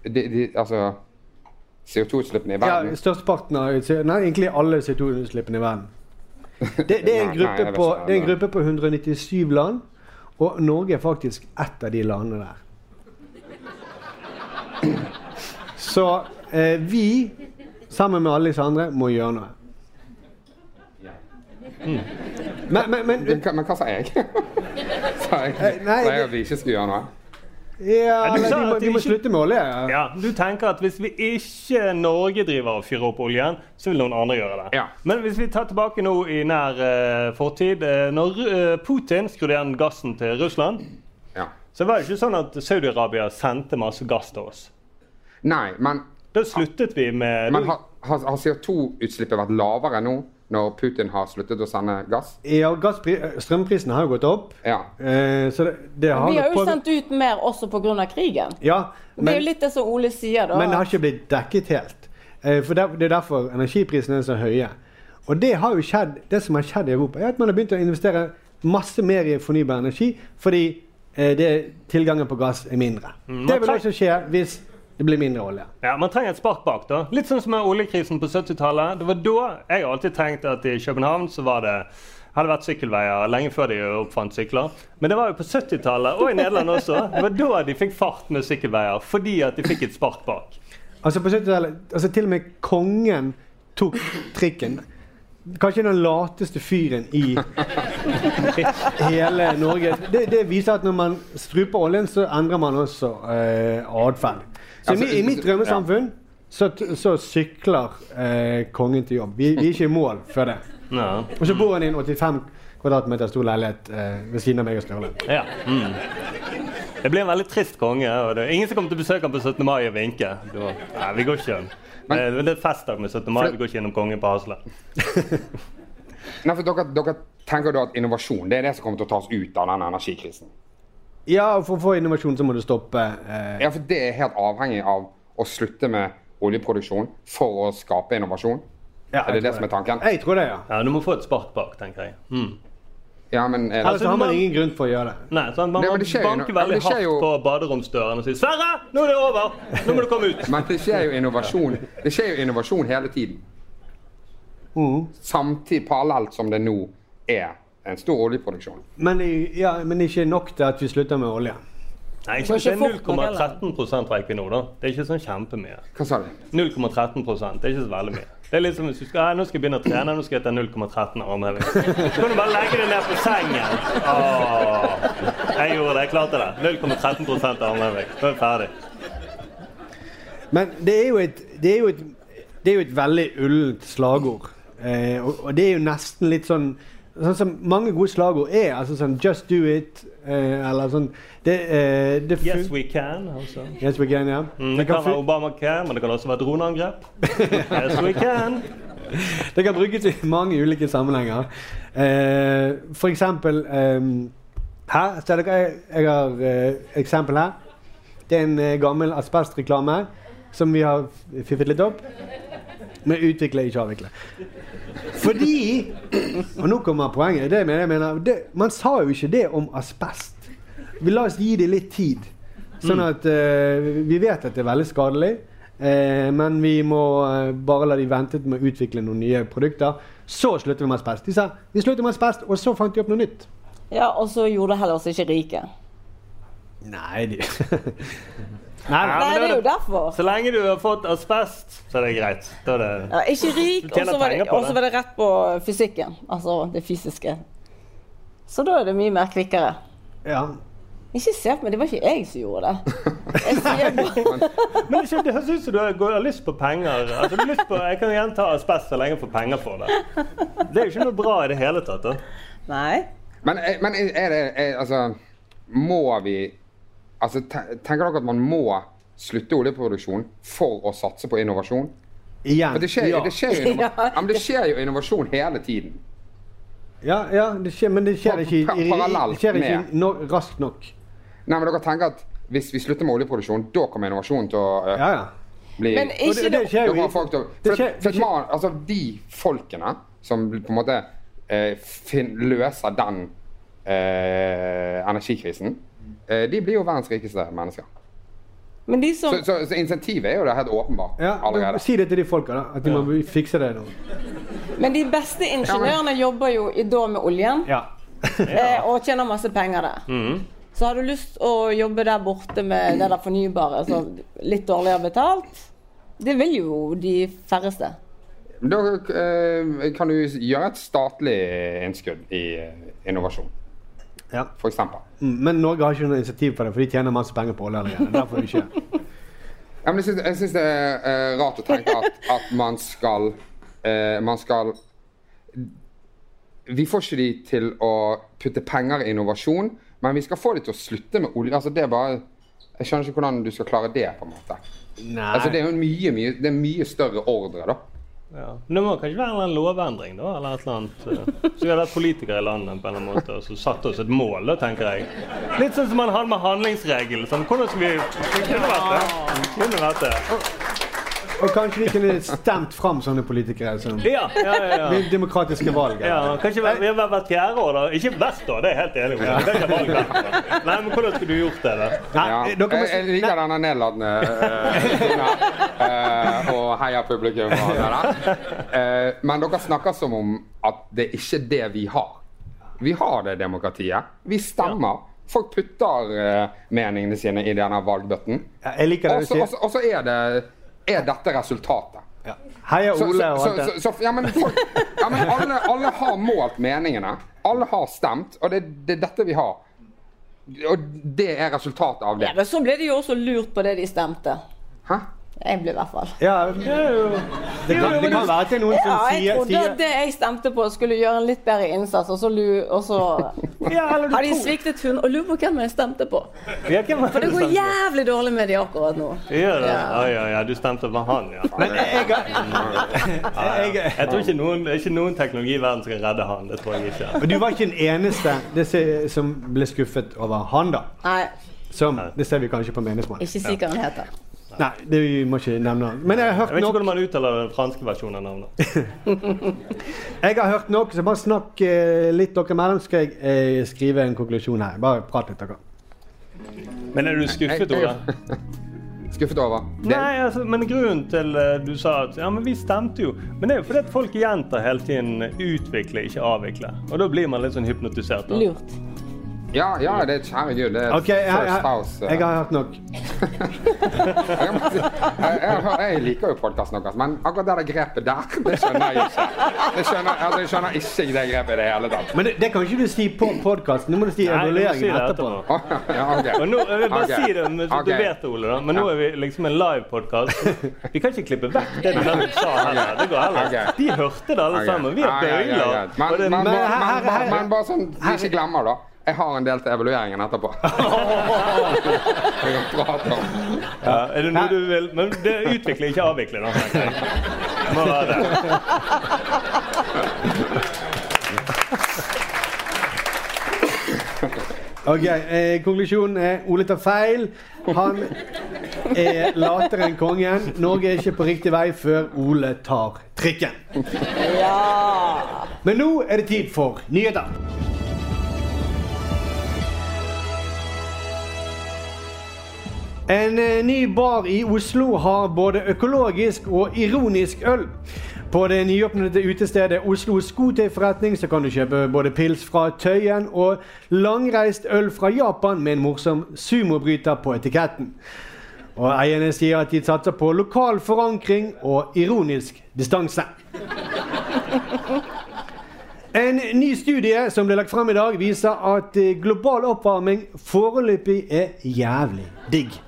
Speaker 5: De, de, altså CO2-utslippene i
Speaker 2: Ja,
Speaker 5: verden?
Speaker 2: Størsteparten av utsi- Nei, egentlig alle CO2-utslippene i verden. Det, det, er en
Speaker 5: Nei, nei, jeg
Speaker 2: gruppe
Speaker 5: vet
Speaker 2: på,
Speaker 5: ikke.
Speaker 2: det er en gruppe på 197 land, og Norge er faktisk ett av de landene der. Så eh, vi, sammen med alle disse andre, må gjøre noe. Men, men, men,
Speaker 5: men hva sa jeg? sa jeg,
Speaker 2: Eh, nei,
Speaker 5: sa jeg
Speaker 2: det-
Speaker 5: at vi ikke skulle gjøre noe?
Speaker 2: Ja,
Speaker 4: du
Speaker 2: men
Speaker 4: sa
Speaker 2: vi må,
Speaker 4: at
Speaker 2: vi må
Speaker 4: ikke-
Speaker 2: slutte med olje.
Speaker 4: Ja, du tenker at hvis vi ikke Norge driver og fyrer opp oljen, så vil noen andre gjøre det. Men hvis vi tar tilbake nå i nær eh, fortid eh, Når eh, Putin skrudde igjen gassen til Russland,
Speaker 5: Ja.
Speaker 4: så var det ikke sånn at Saudi-Arabia sendte masse gass til oss.
Speaker 5: Nei, men
Speaker 4: Da sluttet vi med
Speaker 5: Men har, har, har CO2-utslippet vært lavere nå, når Putin har sluttet å sende gass?
Speaker 2: Ja, gasspri- eh, strømprisen har jo gått opp. Eh, så det, det har
Speaker 3: Vi har
Speaker 2: nok
Speaker 3: jo
Speaker 2: påvirket-
Speaker 3: sendt ut mer også pga. krigen.
Speaker 2: ja,
Speaker 3: det er
Speaker 2: men,
Speaker 3: jo litt det som Ole sier, da.
Speaker 2: men det har ikke blitt dekket helt. Eh, for der, Det er derfor energiprisene er så høye. Og det, har jo skjedd, det som har skjedd i Europa, er at man har begynt å investere masse mer i fornybar energi fordi eh, det, tilgangen på gass er mindre.
Speaker 4: Mm,
Speaker 2: Det
Speaker 4: man
Speaker 2: vil
Speaker 4: treng-
Speaker 2: også skje hvis det blir mindre olje.
Speaker 4: Ja, Man trenger et spark bak. da. Litt sånn som med oljekrisen på 70-tallet. Det var da jeg har alltid tenkt at i København så var det hadde vært sykkelveier lenge før de oppfant sykler. Men det var jo på 70-tallet og i Nederland også. Det var da de fikk fart med sykkelveier. Fordi at de fikk et spark bak.
Speaker 2: Altså på 70-tallet, altså til og med kongen tok trikken. Kanskje den lateste fyren i hele Norge. Det, det viser at når man struper oljen, så endrer man også eh, atferd. Så i
Speaker 5: Altså,
Speaker 2: mi- i mitt drømmesamfunn så, t- så sykler eh, kongen til jobb. Vi, vi er ikke i mål før det.
Speaker 4: Ja.
Speaker 2: Og så bor han i en 85 kvadratmeter stor leilighet eh, ved siden av meg og Sturle.
Speaker 4: Ja. Mm. Det blir en veldig trist konge. og det er Ingen som kommer til å besøke ham på 17. mai og vinke. Det var- Nei, vi går ikke gjennom. Det det er festdag med 17. mai. Vi går ikke gjennom kongen på Hasle.
Speaker 5: Nei, for dere, dere tenker da at innovasjon det er det som kommer til å ta oss ut av denne energikrisen?
Speaker 2: Ja, og for å få innovasjon så må du stoppe eh,
Speaker 5: Ja, for det er helt avhengig av å slutte med oljeproduksjon for å skape innovasjon?
Speaker 2: Ja,
Speaker 5: er det
Speaker 2: jeg
Speaker 5: det som er tanken?
Speaker 2: Jeg tror det, ja.
Speaker 4: Ja, Du må få et spark bak, tenker jeg. Mm. Altså,
Speaker 5: Ja, men eh, er det-
Speaker 2: Ellers har man ingen grunn for å gjøre det.
Speaker 4: Nei, sant? Man,
Speaker 5: Det- men
Speaker 4: man
Speaker 5: det skjer jo
Speaker 4: banker
Speaker 5: no- ja, men
Speaker 4: veldig
Speaker 5: det skjer
Speaker 4: hardt
Speaker 5: jo-
Speaker 4: på baderomsdøren og sier 'Sverre, nå er det over! Nå må du komme ut!'
Speaker 5: Men det skjer jo innovasjon Det skjer jo innovasjon hele tiden. Samtidig parallelt som det nå er en stor oljeproduksjon.
Speaker 2: Men, i- ja, men ikke nok til at vi slutter med olje.
Speaker 4: Nei,
Speaker 2: Men
Speaker 4: ikke,
Speaker 2: ikke
Speaker 4: det er
Speaker 2: fort nok, eller?
Speaker 4: 0,13 fra Equinor, da. Det er ikke sånn kjempemye.
Speaker 5: Hva sa du?
Speaker 4: 0,13 Det er ikke så veldig mye. Det er litt som hvis du skal «Nei, nå skal jeg begynne å trene, nå skal jeg ta 0,13 armheving. Så kan du bare legge deg ned på sengen. Åh, jeg gjorde det. Jeg klarte det. 0,13 armheving. Nå er jeg ferdig.
Speaker 2: Men det er jo et, det er jo et, det er jo et veldig ullent slagord. Eh, og, og det er jo nesten litt sånn Sånn som mange gode slagord er. Altså sånn 'just do it' eh, eller sånn det, eh, det fun-
Speaker 4: Yes, we can. Altså.
Speaker 2: Yes, we can, ja. det,
Speaker 4: Mm,
Speaker 2: kan
Speaker 4: det kan være
Speaker 2: fun-
Speaker 4: Obamacare, men det kan også være droneangrep. Yes, we can.
Speaker 2: det kan brukes i mange ulike sammenhenger. Eh, for eksempel eh, Her ser dere, jeg, jeg har eh, eksempel her. Det er en eh, gammel asbestreklame som vi har fiffet litt opp. Med utvikle, ikke avvikle. Fordi Og nå kommer poenget. Det mener jeg mener, det, man sa jo ikke det om asbest. Vi la oss gi det litt tid. Sånn
Speaker 10: Mm.
Speaker 2: at eh, Vi vet at det er veldig skadelig, eh, men vi må eh, bare la de vente med å utvikle noen nye produkter. Så slutter vi med asbest. De sa vi slutter med asbest, og så fant de opp noe nytt.
Speaker 3: Ja, og så gjorde det heller oss ikke rike.
Speaker 2: Nei, de
Speaker 3: Nei, det er jo derfor.
Speaker 4: Så lenge du har fått asbest, så er det greit. Da er det
Speaker 3: Ja, ikke rik,
Speaker 4: Du
Speaker 3: og
Speaker 4: tjener
Speaker 3: så var, det-
Speaker 4: penger på
Speaker 3: og så var det rett på fysikken. Altså det fysiske. Så da er det mye mer kvikkere.
Speaker 2: Ja.
Speaker 3: Ikke se på meg, det var ikke jeg som gjorde det.
Speaker 4: Men ikke, det høres ut som du har, går- har lyst på penger. Altså, du har lyst på, jeg kan gjerne ta asbest så lenge jeg får penger for det. Det er jo ikke noe bra i det hele tatt. da.
Speaker 3: Nei.
Speaker 5: Men, eh, men er det er, Altså, må vi altså, te- Tenker dere at man må slutte oljeproduksjon for å satse på innovasjon?
Speaker 2: Igjen.
Speaker 5: For det skjer,
Speaker 2: ja.
Speaker 5: det skjer, jo, innova- ja, men det skjer jo innovasjon hele tiden.
Speaker 2: Ja, ja det skjer, men det skjer ikke, i- i- det
Speaker 5: Parallelt
Speaker 2: skjer ikke
Speaker 5: med
Speaker 2: no, raskt nok.
Speaker 5: Nei, men dere tenker at hvis vi slutter med oljeproduksjon, da kommer innovasjonen til å øke?
Speaker 2: Ja, ja.
Speaker 5: Bli,
Speaker 2: Men ikke Og det- det skjer
Speaker 5: Da
Speaker 2: jo i-
Speaker 5: kommer folk til å
Speaker 2: det
Speaker 5: for-
Speaker 2: skjer- det
Speaker 5: for
Speaker 2: skjer-
Speaker 5: man- Altså, de folkene som på en måte eh, fin, løser den eh, energikrisen, eh, de blir jo verdens rikeste mennesker. så, så, så insentivet er jo det helt åpenbart
Speaker 2: Ja,
Speaker 5: allerede.
Speaker 2: si det til de folka, da. At de må fikse det nå.
Speaker 3: Men de beste ingeniørene jobber jo i da med oljen
Speaker 2: Ja. Mhm.
Speaker 3: eh, og tjener masse penger der. Så har du lyst å jobbe der borte med det der fornybare, så litt dårligere betalt. Det vil jo de færreste.
Speaker 5: Da eh, kan du gjøre et statlig innskudd i eh, innovasjon,
Speaker 2: Ja.
Speaker 5: for eksempel.
Speaker 2: Mm, Men Norge har ikke noe initiativ på det, for de tjener masse penger på olje allerede. Derfor er det ikke.
Speaker 5: Ja, men jeg syns, jeg syns det er eh, rart å tenke at, at man skal eh, Man skal Vi får ikke de til å putte penger i innovasjon, men vi skal få de til å slutte med olje. Altså, det er bare Jeg skjønner ikke hvordan du skal klare det, på en måte.
Speaker 2: Nei.
Speaker 5: Altså, det er jo en mye, mye, det er en mye større ordre, da.
Speaker 4: Ja. Men det må kanskje være en eller annen lovendring, da? Eller et eller annet. eh, Så vi hadde vært politikere i landet på en eller annen måte, og så satte oss et mål, da, tenker jeg. Litt sånn som man hadde med handlingsregelen. Sånn, hvordan skal vi vi kunne vært det? Vi Kunne vært det.
Speaker 2: Og kanskje de kunne stemt fram sånne politikere som
Speaker 4: Ja, ja, ja, ja.
Speaker 2: ved demokratiske valg.
Speaker 4: Ja, kanskje hver, vi har vært hvert fjerde år, da. Ikke hvert år, det er jeg helt enig i. Det er ikke valg hvert år. Nei, men hvordan skulle du gjort det? da?
Speaker 5: Ja. Jeg, jeg liker denne nedlatende eh, tonen, eh, og heier publikum. Og alt det der. Eh, men dere snakker som om at det er ikke det vi har. Vi har det demokratiet. Vi stemmer. Folk putter eh, meningene sine i denne valgbøtten.
Speaker 2: jeg liker det
Speaker 5: Og
Speaker 2: du
Speaker 5: så-
Speaker 2: sier.
Speaker 5: og så- Og så er, det- er dette resultatet.
Speaker 2: Heia
Speaker 5: Så-
Speaker 2: Ole og
Speaker 5: så-
Speaker 2: alt det.
Speaker 5: så- så- ja, men folk, ja, men alle, alle har målt meningene. Alle har stemt, og det, det er dette vi har. Og det er resultatet av det.
Speaker 3: Ja, men så ble de jo også lurt på det de stemte.
Speaker 5: Hæ?
Speaker 3: Jeg ble i hvert fall.
Speaker 2: Ja, det kan, det kan være til noen som
Speaker 3: Ja, jeg
Speaker 2: sier,
Speaker 3: trodde at
Speaker 2: sier
Speaker 3: det jeg stemte på skulle gjøre en litt bedre innsats, og så, lu, og så har de sviktet hun og lurer på hvem jeg stemte på.
Speaker 4: Ja, hvem var
Speaker 3: For det
Speaker 4: du
Speaker 3: går
Speaker 4: stemte på?
Speaker 3: jævlig dårlig med de akkurat nå.
Speaker 4: Gjør det? Ja. ja, ja, du stemte på han, ja. ja, ja. Jeg tror ikke noen, ikke noen teknologi i verden skal redde han. Det tror jeg ikke.
Speaker 2: Men du var ikke den eneste det ser- som ble skuffet over han, da.
Speaker 3: Nei,
Speaker 2: Som, det ser vi kanskje på meningsmålingen.
Speaker 3: ikke si hva han heter.
Speaker 2: Nei, det vi må ikke nevne han. Men jeg har
Speaker 4: Jeg vet
Speaker 2: hørt
Speaker 4: ikke
Speaker 2: nok.
Speaker 4: hvordan man uttaler den franske versjonen av navnet.
Speaker 2: Jeg har hørt nok, så bare snakk eh, litt dere imellom, så skal jeg eh, skrive en konklusjon her. Bare prat litt, dere.
Speaker 4: Men er du skuffet, Ola?
Speaker 5: Skuffet over?
Speaker 4: Nei, altså, men grunnen til eh, du sa at ja, men vi stemte jo Men det er jo fordi at folk gjentar hele tiden 'utvikle, ikke avvikle'. Og da blir man litt sånn hypnotisert. Da.
Speaker 3: Lurt.
Speaker 5: Ja, ja, det er herregud. Det er
Speaker 2: Ok, jeg, jeg,
Speaker 5: first house. eh.
Speaker 2: jeg har hørt nok.
Speaker 5: jeg, jeg, har- jeg liker jo podkasten deres, men akkurat det der grepet der, det skjønner jeg ikke. Det skjønner, altså, jeg skjønner ikke det grepet i det hele tatt.
Speaker 2: Men det, det kan ikke du si på podkasten. Nå må du si
Speaker 4: Nei, du må si
Speaker 2: evalueringen
Speaker 4: det
Speaker 2: etterpå.
Speaker 5: Ja, ok.
Speaker 4: Og nå, jeg vil bare
Speaker 5: Ok.
Speaker 4: si det, men
Speaker 5: Ok.
Speaker 4: du vet det, Ole, da. Men nå er vi liksom en live podkast. Vi kan ikke klippe vekk det du nettopp sa heller. Det går heller.
Speaker 5: Ok.
Speaker 4: De hørte det, alle
Speaker 5: Ok.
Speaker 4: sammen. Vi
Speaker 5: Ja,
Speaker 4: er
Speaker 5: ja, ja, ja.
Speaker 4: bøyler.
Speaker 5: Men,
Speaker 4: Og det-
Speaker 5: men, men, men, men, men bare sånn vi ikke glemmer, da. Jeg har en del til evalueringen etterpå. Jeg kan prate om.
Speaker 4: Ja, er det noe du vil Men det utvikler ikke avvikler, da. tenker jeg. Det Må være det.
Speaker 2: Ok, eh, Konklusjonen er Ole tar feil. Han er latere enn kongen. Norge er ikke på riktig vei før Ole tar trikken. Men nå er det tid for nyheter. En eh, ny bar i Oslo har både økologisk og ironisk øl. På det nyåpnede utestedet Oslo Skotøyforretning så kan du kjøpe både pils fra Tøyen og langreist øl fra Japan med en morsom sumobryter på etiketten. Og eierne sier at de satser på lokal forankring og ironisk distanse. En ny studie som ble lagt frem i dag, viser at eh, global oppvarming foreløpig er jævlig digg.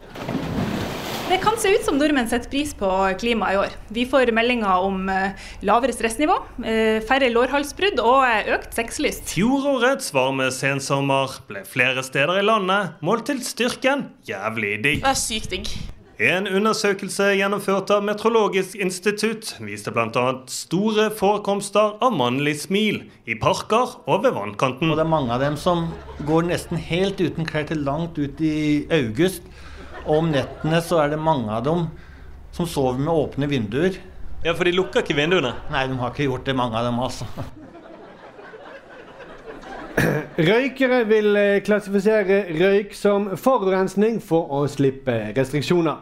Speaker 3: Det kan se ut som nordmenn setter pris på klimaet i år. Vi får meldinger om eh, lavere stressnivå, eh, færre lårhalsbrudd og eh, økt sexlyst.
Speaker 11: Fjorårets varme sensommer ble flere steder i landet målt til styrken jævlig digg.
Speaker 12: Det er sykt digg.
Speaker 11: En undersøkelse gjennomført av Meteorologisk institutt viste bl.a. store forekomster av mannlig smil i parker og ved vannkanten.
Speaker 13: Og det er mange av dem som går nesten helt uten klær til langt ut i august. Og om nettene så er det mange av dem som sover med åpne vinduer.
Speaker 11: Ja, For de lukker ikke vinduene?
Speaker 13: Nei, de har ikke gjort det, mange av dem, altså.
Speaker 2: Røykere vil eh, klassifisere røyk som forurensning for å slippe restriksjoner.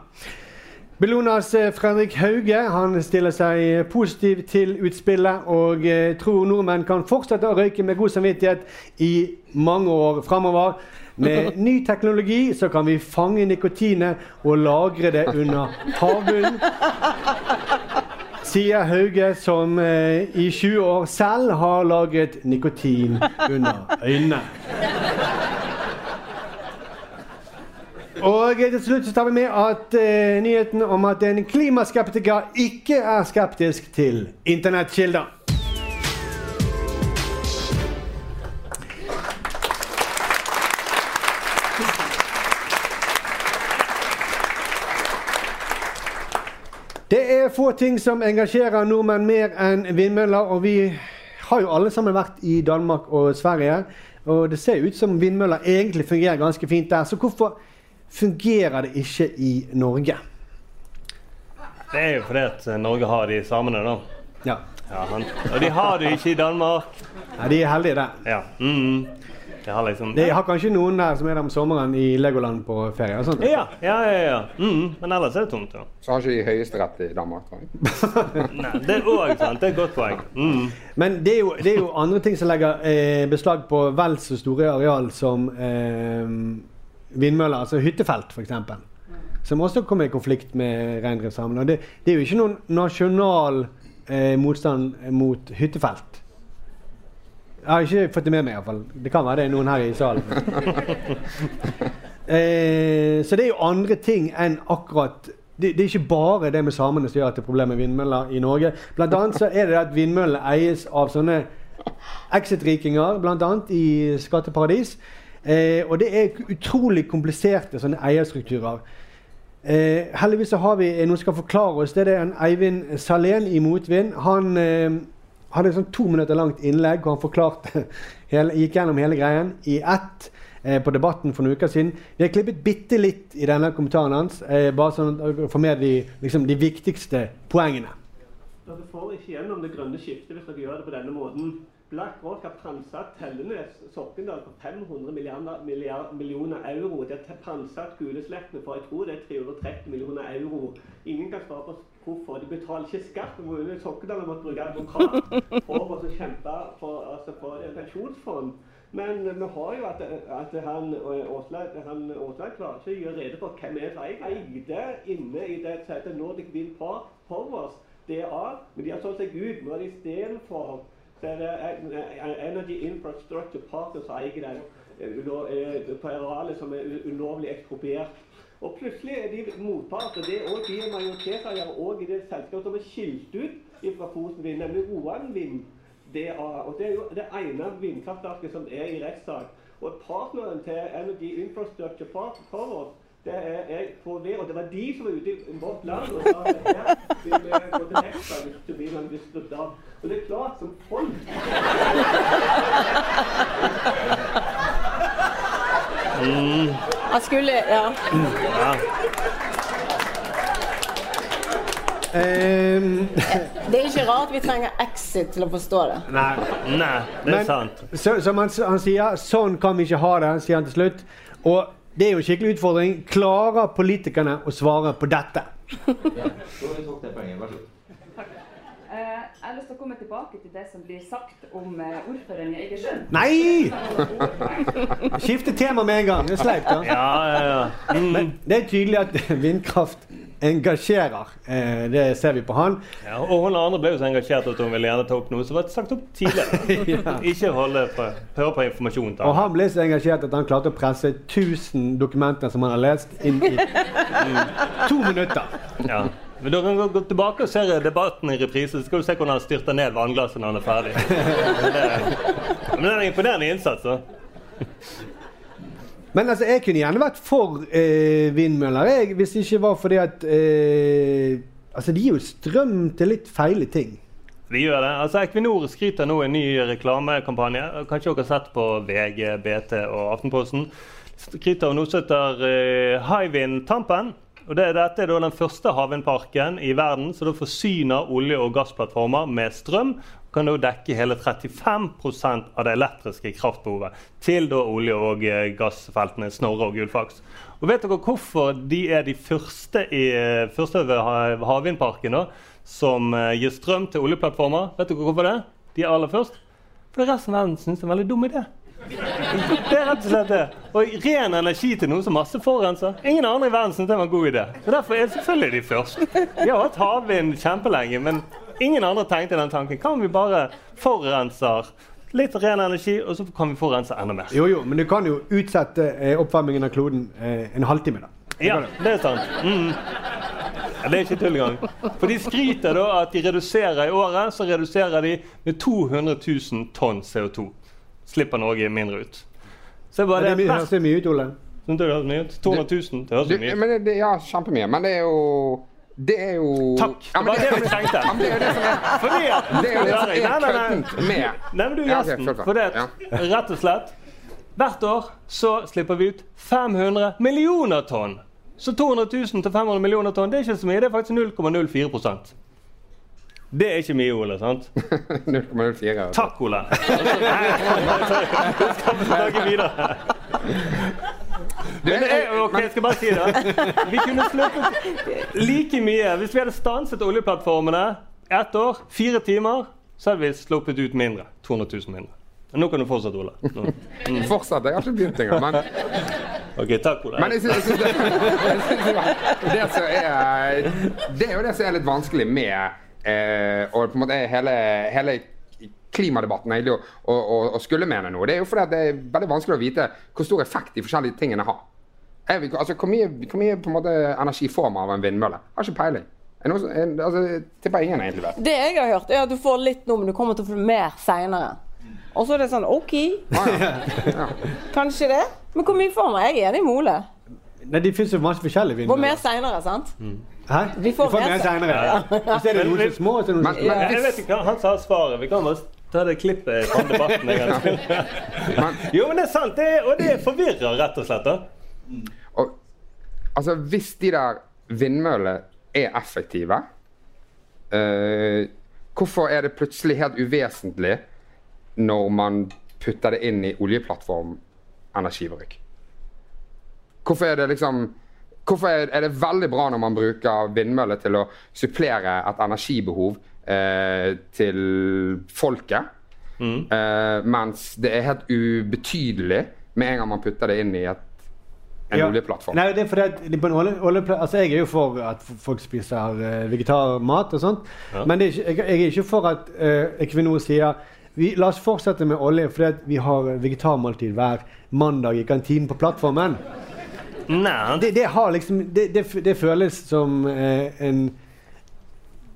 Speaker 2: Bellonas eh, Fredrik Hauge han stiller seg positiv til utspillet og eh, tror nordmenn kan fortsette å røyke med god samvittighet i mange år framover. Med ny teknologi så kan vi fange nikotinet og lagre det under havbunnen sier Hauge, som eh, i 20 år selv har lagret nikotin under øynene. Og eh, til slutt så tar vi med at eh, nyheten om at en klimaskeptiker ikke er skeptisk til internettkilder. Det er få ting som engasjerer nordmenn mer enn vindmøller, og vi har jo alle sammen vært i Danmark og Sverige, og det ser ut som vindmøller egentlig fungerer ganske fint der, så hvorfor fungerer det ikke i Norge?
Speaker 14: Det er jo fordi at eh, Norge har de samene, da.
Speaker 2: Ja.
Speaker 14: han. Og de har det ikke i Danmark.
Speaker 2: Nei, de er heldige der.
Speaker 14: Ja. Mm. De har liksom
Speaker 2: Det har kanskje noen der som er der om sommeren i Legoland på ferie og sånt?
Speaker 14: Ja, ja, ja. ja. Mm. Men ellers er det tomt, ja.
Speaker 15: Så har ikke de høyesterett i Danmark, tror jeg.
Speaker 14: Nei, det er òg sant. Det er et godt poeng. Mm.
Speaker 2: Men det er, jo, det er jo andre ting som legger eh, beslag på vel så store areal som eh, vindmøller, altså hyttefelt f.eks. Som også kommer i konflikt med reindriftssamene. Og Det, det er jo ikke noen nasjonal eh, motstand mot hyttefelt. Jeg har ikke fått det med meg iallfall. Det kan være det er noen her i salen. eh, så det er jo andre ting enn akkurat det, det er ikke bare det med samene som gjør at det er problemer med vindmøller i Norge. Blant annet så er det det at vindmøllene eies av sånne exit-rikinger, bl.a. i skatteparadis. Eh, og det er utrolig kompliserte sånne eierstrukturer. Eh, heldigvis så har vi eh, noen som skal forklare oss. Det er en Eivind Salén i Motvind. Han eh, hadde et sånn to minutter langt innlegg hvor han forklarte hele, gikk gjennom hele greien i ett eh, på Debatten for noen uker siden. Vi har klippet bitte litt i denne kommentaren hans, eh, bare sånn at dere får med de, liksom, de viktigste poengene.
Speaker 4: Dere får ikke gjennom det grønne skiftet hvis dere gjør det på denne måten. BlackRock har pantsatt Tellenes Sokkendal for 500 milliarder, milliard, millioner euro. De har te- pantsatt Guleslektene for jeg tror det er 330 millioner euro. Ingen kan svare på hvorfor. De betaler ikke skatt. Kommunen Sokkendal har måttet bruke advokat for å kjempe for, altså, for en pensjonsfond. Men vi har jo at, at han eh, Aasland han Aasland klarer ikke å gjøre rede for hvem er som eide inne i det som heter Nordic Wind Power- Powers, DA. Men de har solgt seg ut. Nå er de istedenfor så er det eh, eh, Energy Infrastructure Partners som eier den eh, ulo- eh, på arealet som er u- ulovlig ekspropriert. Og plutselig er de motparter. Det er også de er majoritetseiere og i det selskapet som er skilt ut fra Fosen Vind, nemlig Roan Vind DA. Og det er jo det ene vindkraftverket som er i rettssak. Og partneren til Energy Infrastructure Part- Power, det er er KV, og det var de som var ute i vårt land og sa at her vil vi gå til rettssak hvis det blir en viss dam. Og det er klart som folk
Speaker 14: Mm.
Speaker 3: Jeg skulle Ja.
Speaker 14: Ja.
Speaker 2: Ehm,
Speaker 3: Det er ikke rart vi trenger exit til å forstå det.
Speaker 2: Nei.
Speaker 4: Nei, det er
Speaker 2: Men,
Speaker 4: sant.
Speaker 2: Så, som han, s- han sier, sånn kan vi ikke ha det, sier han til slutt. Og det er jo en skikkelig utfordring. Klarer politikerne å svare på dette?
Speaker 16: Eh, jeg har lyst til å komme tilbake til det som blir sagt om eh, ordføreren i Egersund.
Speaker 2: Nei! Skifte tema med en gang. Det er sleipt, da. Men det er tydelig at vindkraft engasjerer. Eh, Det ser vi på han.
Speaker 4: Ja, og hun andre ble jo så engasjert at hun ville gjerne ta opp noe som var sagt opp tidligere. Ikke holde på, høre på informasjon.
Speaker 2: Og
Speaker 4: Da.
Speaker 2: han ble så engasjert at han klarte å presse 1000 dokumenter som han har lest, inn i to minutter.
Speaker 4: Ja. Men du kan gå- gå tilbake og se debatten i reprise, så skal du se hvordan han styrter ned vannglasset når han er ferdig. Men det- Men det er en imponerende innsats. da.
Speaker 2: Men altså, jeg kunne gjerne vært for eh, vindmøller, jeg, hvis det ikke var fordi at eh, Altså, de gir jo strøm til litt feile ting.
Speaker 4: Vi gjør det. Altså, Equinor skryter nå en ny reklamekampanje. Kanskje dere har sett på VG, BT og Aftenposten. Skryter av noe som heter eh, Hywind Tampen. Og det, dette er da den første havvindparken i verden som da forsyner olje- og gassplattformer med strøm. og Kan da dekke hele 35 av det elektriske kraftbehovet til da olje- og eh, gassfeltene Snorre og Gullfaks. Og vet dere hvorfor de er de første, i, eh, første ved ha- havvindparken da, som eh, gir strøm til oljeplattformer? Vet dere hvorfor det? De er aller først? Fordi resten av verden syns det er en veldig dum idé. Det er rett og slett det. Og ren energi til noe som masse forurenser. Ingen andre i verden syntes det var en god idé. Så derfor er selvfølgelig de først. De har hatt havvind kjempelenge, men ingen andre tenkte den tanken. Kan vi bare forurenser litt ren energi, og så kan vi forurense enda mer?
Speaker 2: Jo, jo, men du kan jo utsette eh, oppvarmingen av kloden eh, en halvtime, da.
Speaker 4: Ja, det er sant. Mm. Ja, det er ikke tull engang. For de skryter da at de reduserer i året, så reduserer de med 200 000 tonn CO2. Slipper Norge mindre ut. Så
Speaker 2: Men
Speaker 4: bare
Speaker 2: det
Speaker 4: det
Speaker 2: my-
Speaker 4: best-
Speaker 2: høres jo mye ut, Ole.
Speaker 4: Synes du det høres mye ut? 200 000, det høres
Speaker 5: Du,
Speaker 4: jo mye ut.
Speaker 5: men det- det, ja, kjempemye. Men det er jo Det er jo
Speaker 4: Takk.
Speaker 5: Ja,
Speaker 4: Det var det vi
Speaker 5: ja, men det er jo det som er
Speaker 4: Fordi at-
Speaker 5: Det er jo det som
Speaker 4: Nei, nei,
Speaker 5: er
Speaker 4: nei.
Speaker 5: køddent med
Speaker 4: Nei, men du,
Speaker 5: Ja, ok,
Speaker 4: Gjesten.
Speaker 5: fortell.
Speaker 4: For det, at-
Speaker 5: Ja.
Speaker 4: rett og slett Hvert år så slipper vi ut 500 millioner tonn. Så 200 000 til 500 millioner tonn, det er ikke så mye. Det er faktisk 0,04 Det er ikke mye, Ole. sant?
Speaker 5: 0,04.
Speaker 4: Takk, Ole. Vi skal snakke videre. Men det er, ok, jeg skal bare si det. Vi kunne sluppet like mye. Hvis vi hadde stanset oljeplattformene ett år, fire timer, så hadde vi sluppet ut mindre. 200 000 mindre. Men Nå kan du fortsette, Ole. Nå.
Speaker 5: Fortsett. Jeg har ikke begynt engang. Men
Speaker 4: Ok, takk, Ole.
Speaker 5: Men jeg synes, jeg synes, det, jeg synes det, var- det, som er, det er jo det som er litt vanskelig med eh, og på en måte hele, hele klimadebatten egentlig, og, og, og skulle mene noe. Det er jo fordi at det er veldig vanskelig å vite hvor stor effekt de forskjellige tingene har. Jeg, vet ikke, altså, hvor mye, hvor mye på en måte, energi får man av en vindmølle? Jeg har ikke peiling. Er det noe som- er- altså, jeg tipper ingen egentlig vet.
Speaker 3: Det jeg har hørt, er at du får litt nå, men du kommer til å få mer seinere. Og så er det sånn OK, kanskje det. Men hvor mye får man? Jeg er enig med Ole.
Speaker 2: Nei, det fins jo masse forskjellige
Speaker 3: Får
Speaker 2: vindmøller.
Speaker 3: mer seinere, sant?
Speaker 2: Hæ?
Speaker 3: Vi får
Speaker 2: Du får
Speaker 3: mer
Speaker 2: mer
Speaker 3: sen-
Speaker 2: senere.
Speaker 3: Ja.
Speaker 2: Og så er det noen som er små, og så er det noen
Speaker 4: Men,
Speaker 2: som er
Speaker 4: jeg vet ikke, hva- Han sa svaret. Vi kan bare ta det klippet fra debatten. en gang til. Jo, men det er sant. Det, er- og det forvirrer, rett og slett. da.
Speaker 5: Altså, hvis de der vindmøllene er effektive, eh, hvorfor er det plutselig helt uvesentlig når man putter det inn i oljeplattform energibruk? Hvorfor er det liksom Hvorfor er, er det veldig bra når man bruker vindmøller til å supplere et energibehov eh, til folket, eh, mens det er helt ubetydelig med en gang man putter det inn i et, en
Speaker 2: Ja.
Speaker 5: oljeplattform?
Speaker 2: Nei, det er fordi at de på en olje, oljepla- altså Jeg er jo for at f- folk spiser eh, vegetarmat og sånt.
Speaker 5: Ja.
Speaker 2: Men det er ikke, jeg, jeg er ikke for at eh, Equinor sier vi, la oss fortsette med olje fordi at vi har vegetarmåltid hver mandag i kantinen på plattformen. Det, det, har liksom, det, det, f- det føles som eh, en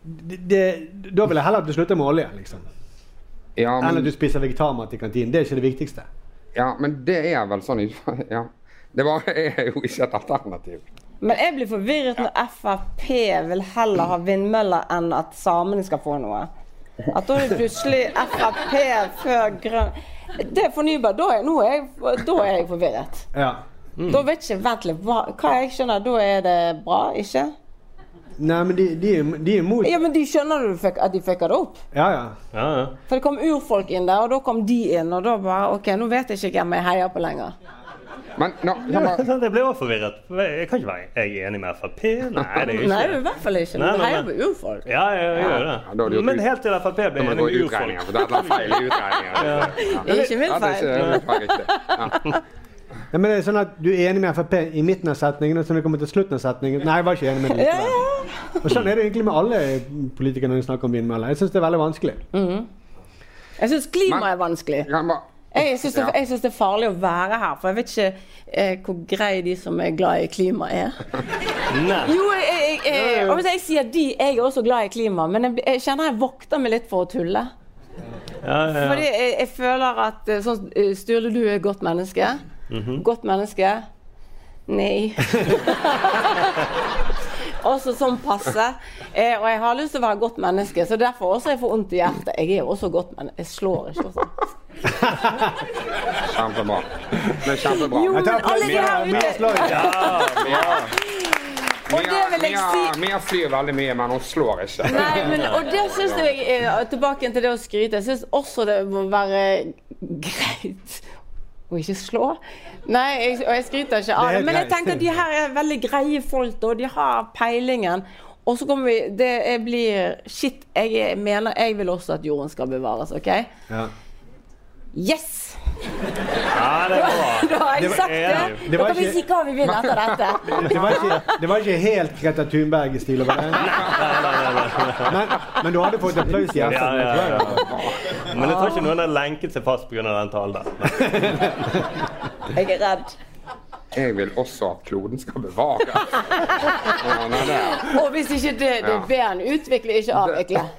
Speaker 2: det, det, Da vil jeg heller at du slutter med olje, liksom.
Speaker 5: Ja, men-
Speaker 2: Enn at du spiser vegetarmat i kantinen. Det er ikke det viktigste.
Speaker 5: Ja, men det er vel sånn ja. Det var, er jo ikke et alternativ.
Speaker 3: Men jeg blir forvirret når Frp vil heller ha vindmøller enn at samene skal få noe. At da er det plutselig Frp før grønn Det er fornybar. Da er, nå er jeg, da er jeg forvirret. Da vet ikke Vent litt. Hva, hva jeg skjønner, da er det bra, ikke?
Speaker 2: Nei, men de, de, er- de er imot.
Speaker 3: Ja, men de skjønner du fuck- at de fucka det opp.
Speaker 2: Ja, ja.
Speaker 3: For det kom urfolk inn der, og da kom de inn, og da bare OK, nå vet jeg ikke hvem jeg heier på lenger.
Speaker 4: Ja, sant, jeg ble også forvirret. Jeg kan ikke være jeg er enig med Frp. Nei, det er
Speaker 3: Nei,
Speaker 4: jeg
Speaker 3: du er i
Speaker 4: ikke.
Speaker 3: hvert fall ikke.
Speaker 4: Nei,
Speaker 3: Men du
Speaker 4: nei,
Speaker 3: heier
Speaker 4: nei.
Speaker 3: på urfolk.
Speaker 4: Ja, jeg, jeg gjør
Speaker 5: Ja, da har du
Speaker 4: det.
Speaker 5: gjort
Speaker 4: Men
Speaker 5: ut-
Speaker 4: helt til Frp
Speaker 5: Da
Speaker 4: ble
Speaker 5: må
Speaker 4: enig
Speaker 5: du gå
Speaker 4: med
Speaker 5: utregninger, for det er
Speaker 4: urfolk.
Speaker 5: et eller annet feil i utregningen.
Speaker 4: Ja.
Speaker 3: Det er ikke min
Speaker 5: Ja, det er
Speaker 3: feil.
Speaker 5: ikke min feil, riktig. Ja.
Speaker 2: Ja, men det er sånn at Du er enig med Frp i midten av setningen, og så når du kommer til slutten av setningen Nei, jeg var ikke enig med dem.
Speaker 3: Ja,
Speaker 2: likevel. Og Sånn er det egentlig med alle politikere når de snakker om vindmøller. Jeg syns det er veldig vanskelig.
Speaker 3: Jeg syns klima er vanskelig. Jeg syns det,
Speaker 2: Ja.
Speaker 3: jeg synes det er farlig å være her, for jeg vet ikke eh, hvor greie de som er glad i klima er. Jo, jeg, jeg, jeg, jeg, og hvis jeg sier de, jeg er også glad i klima, men jeg, blir- jeg kjenner jeg vokter meg litt for å tulle.
Speaker 4: Ja, ja,
Speaker 3: Fordi
Speaker 4: ja.
Speaker 3: jeg, jeg føler at eh, sånn, eh, Sturle, du er et godt menneske.
Speaker 4: Mhm.
Speaker 3: Godt menneske. Nei. også sånn passe. Eh, og jeg har lyst til å være godt menneske, så derfor også jeg får vondt i hjertet. Jeg er jo også godt menneske. Jeg slår ikke. Også.
Speaker 5: Kjempebra. Det er kjempebra.
Speaker 3: Jo, Jeg tar men applaus. alle de her
Speaker 5: Mia-
Speaker 3: ute-
Speaker 5: Mia slår ikke.
Speaker 3: Ja, Og det vil jeg
Speaker 5: Mia, Mia,
Speaker 3: si-
Speaker 5: Mia flyr veldig mye, men hun slår ikke.
Speaker 3: Nei, men, og det syns jeg er Tilbake igjen til det å skryte. Jeg syns også det må være greit å ikke slå. Nei, jeg, og jeg skryter ikke av
Speaker 16: Det er
Speaker 3: det, men jeg
Speaker 16: greit.
Speaker 3: tenker at de her er veldig greie folk, og de har peilingen. Og så kommer vi Det jeg blir Shit, jeg er- mener jeg vil også at jorden skal bevares, OK?
Speaker 2: Ja.
Speaker 3: Yes!
Speaker 4: Ja, det er bra.
Speaker 3: Da har jeg
Speaker 2: Det var-
Speaker 3: sagt det.
Speaker 2: Det
Speaker 3: Da
Speaker 2: var
Speaker 3: kan vi
Speaker 2: ikke-
Speaker 3: si hva vi vil etter dette.
Speaker 2: Det var ikke, det var ikke helt Greta Thunberg-stil over det. Men, men du hadde fått applaus i
Speaker 4: Ja,
Speaker 2: FN.
Speaker 4: ja,
Speaker 2: det tror jeg.
Speaker 4: ja. Men jeg tror ikke noen har lenket seg fast pga. den talen der.
Speaker 3: Jeg er redd.
Speaker 5: Jeg vil også at kloden skal bevares. Ja, nei, det er-
Speaker 3: Og hvis ikke det, det
Speaker 5: Ja.
Speaker 3: ber en utvikle, ikke avvikle.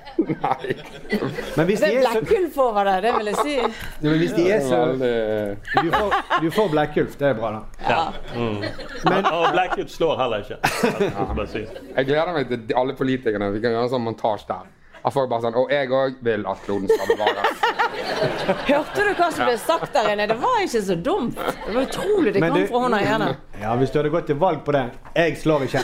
Speaker 2: Men hvis
Speaker 3: det
Speaker 2: de
Speaker 3: er
Speaker 2: er så
Speaker 3: blekkulf over deg, det vil jeg si.
Speaker 2: Ja, men hvis de er så
Speaker 5: Du
Speaker 2: får, du får Blekkulf, det er bra, da.
Speaker 4: Ja. Mm. Men, og Blackwood slår heller ikke. Jeg skal bare si.
Speaker 5: Jeg gleder meg til alle politikerne. Vi kan gjøre en sånn montasje der. At folk bare sånn Og jeg òg vil at kloden skal bevares.
Speaker 3: Hørte du hva som ble sagt der inne? Det var ikke så dumt. Det var utrolig det
Speaker 2: Men
Speaker 3: kom
Speaker 2: du-
Speaker 3: fra hånda igjen.
Speaker 2: Ja, Hvis du hadde gått til valg på det Jeg slår ikke.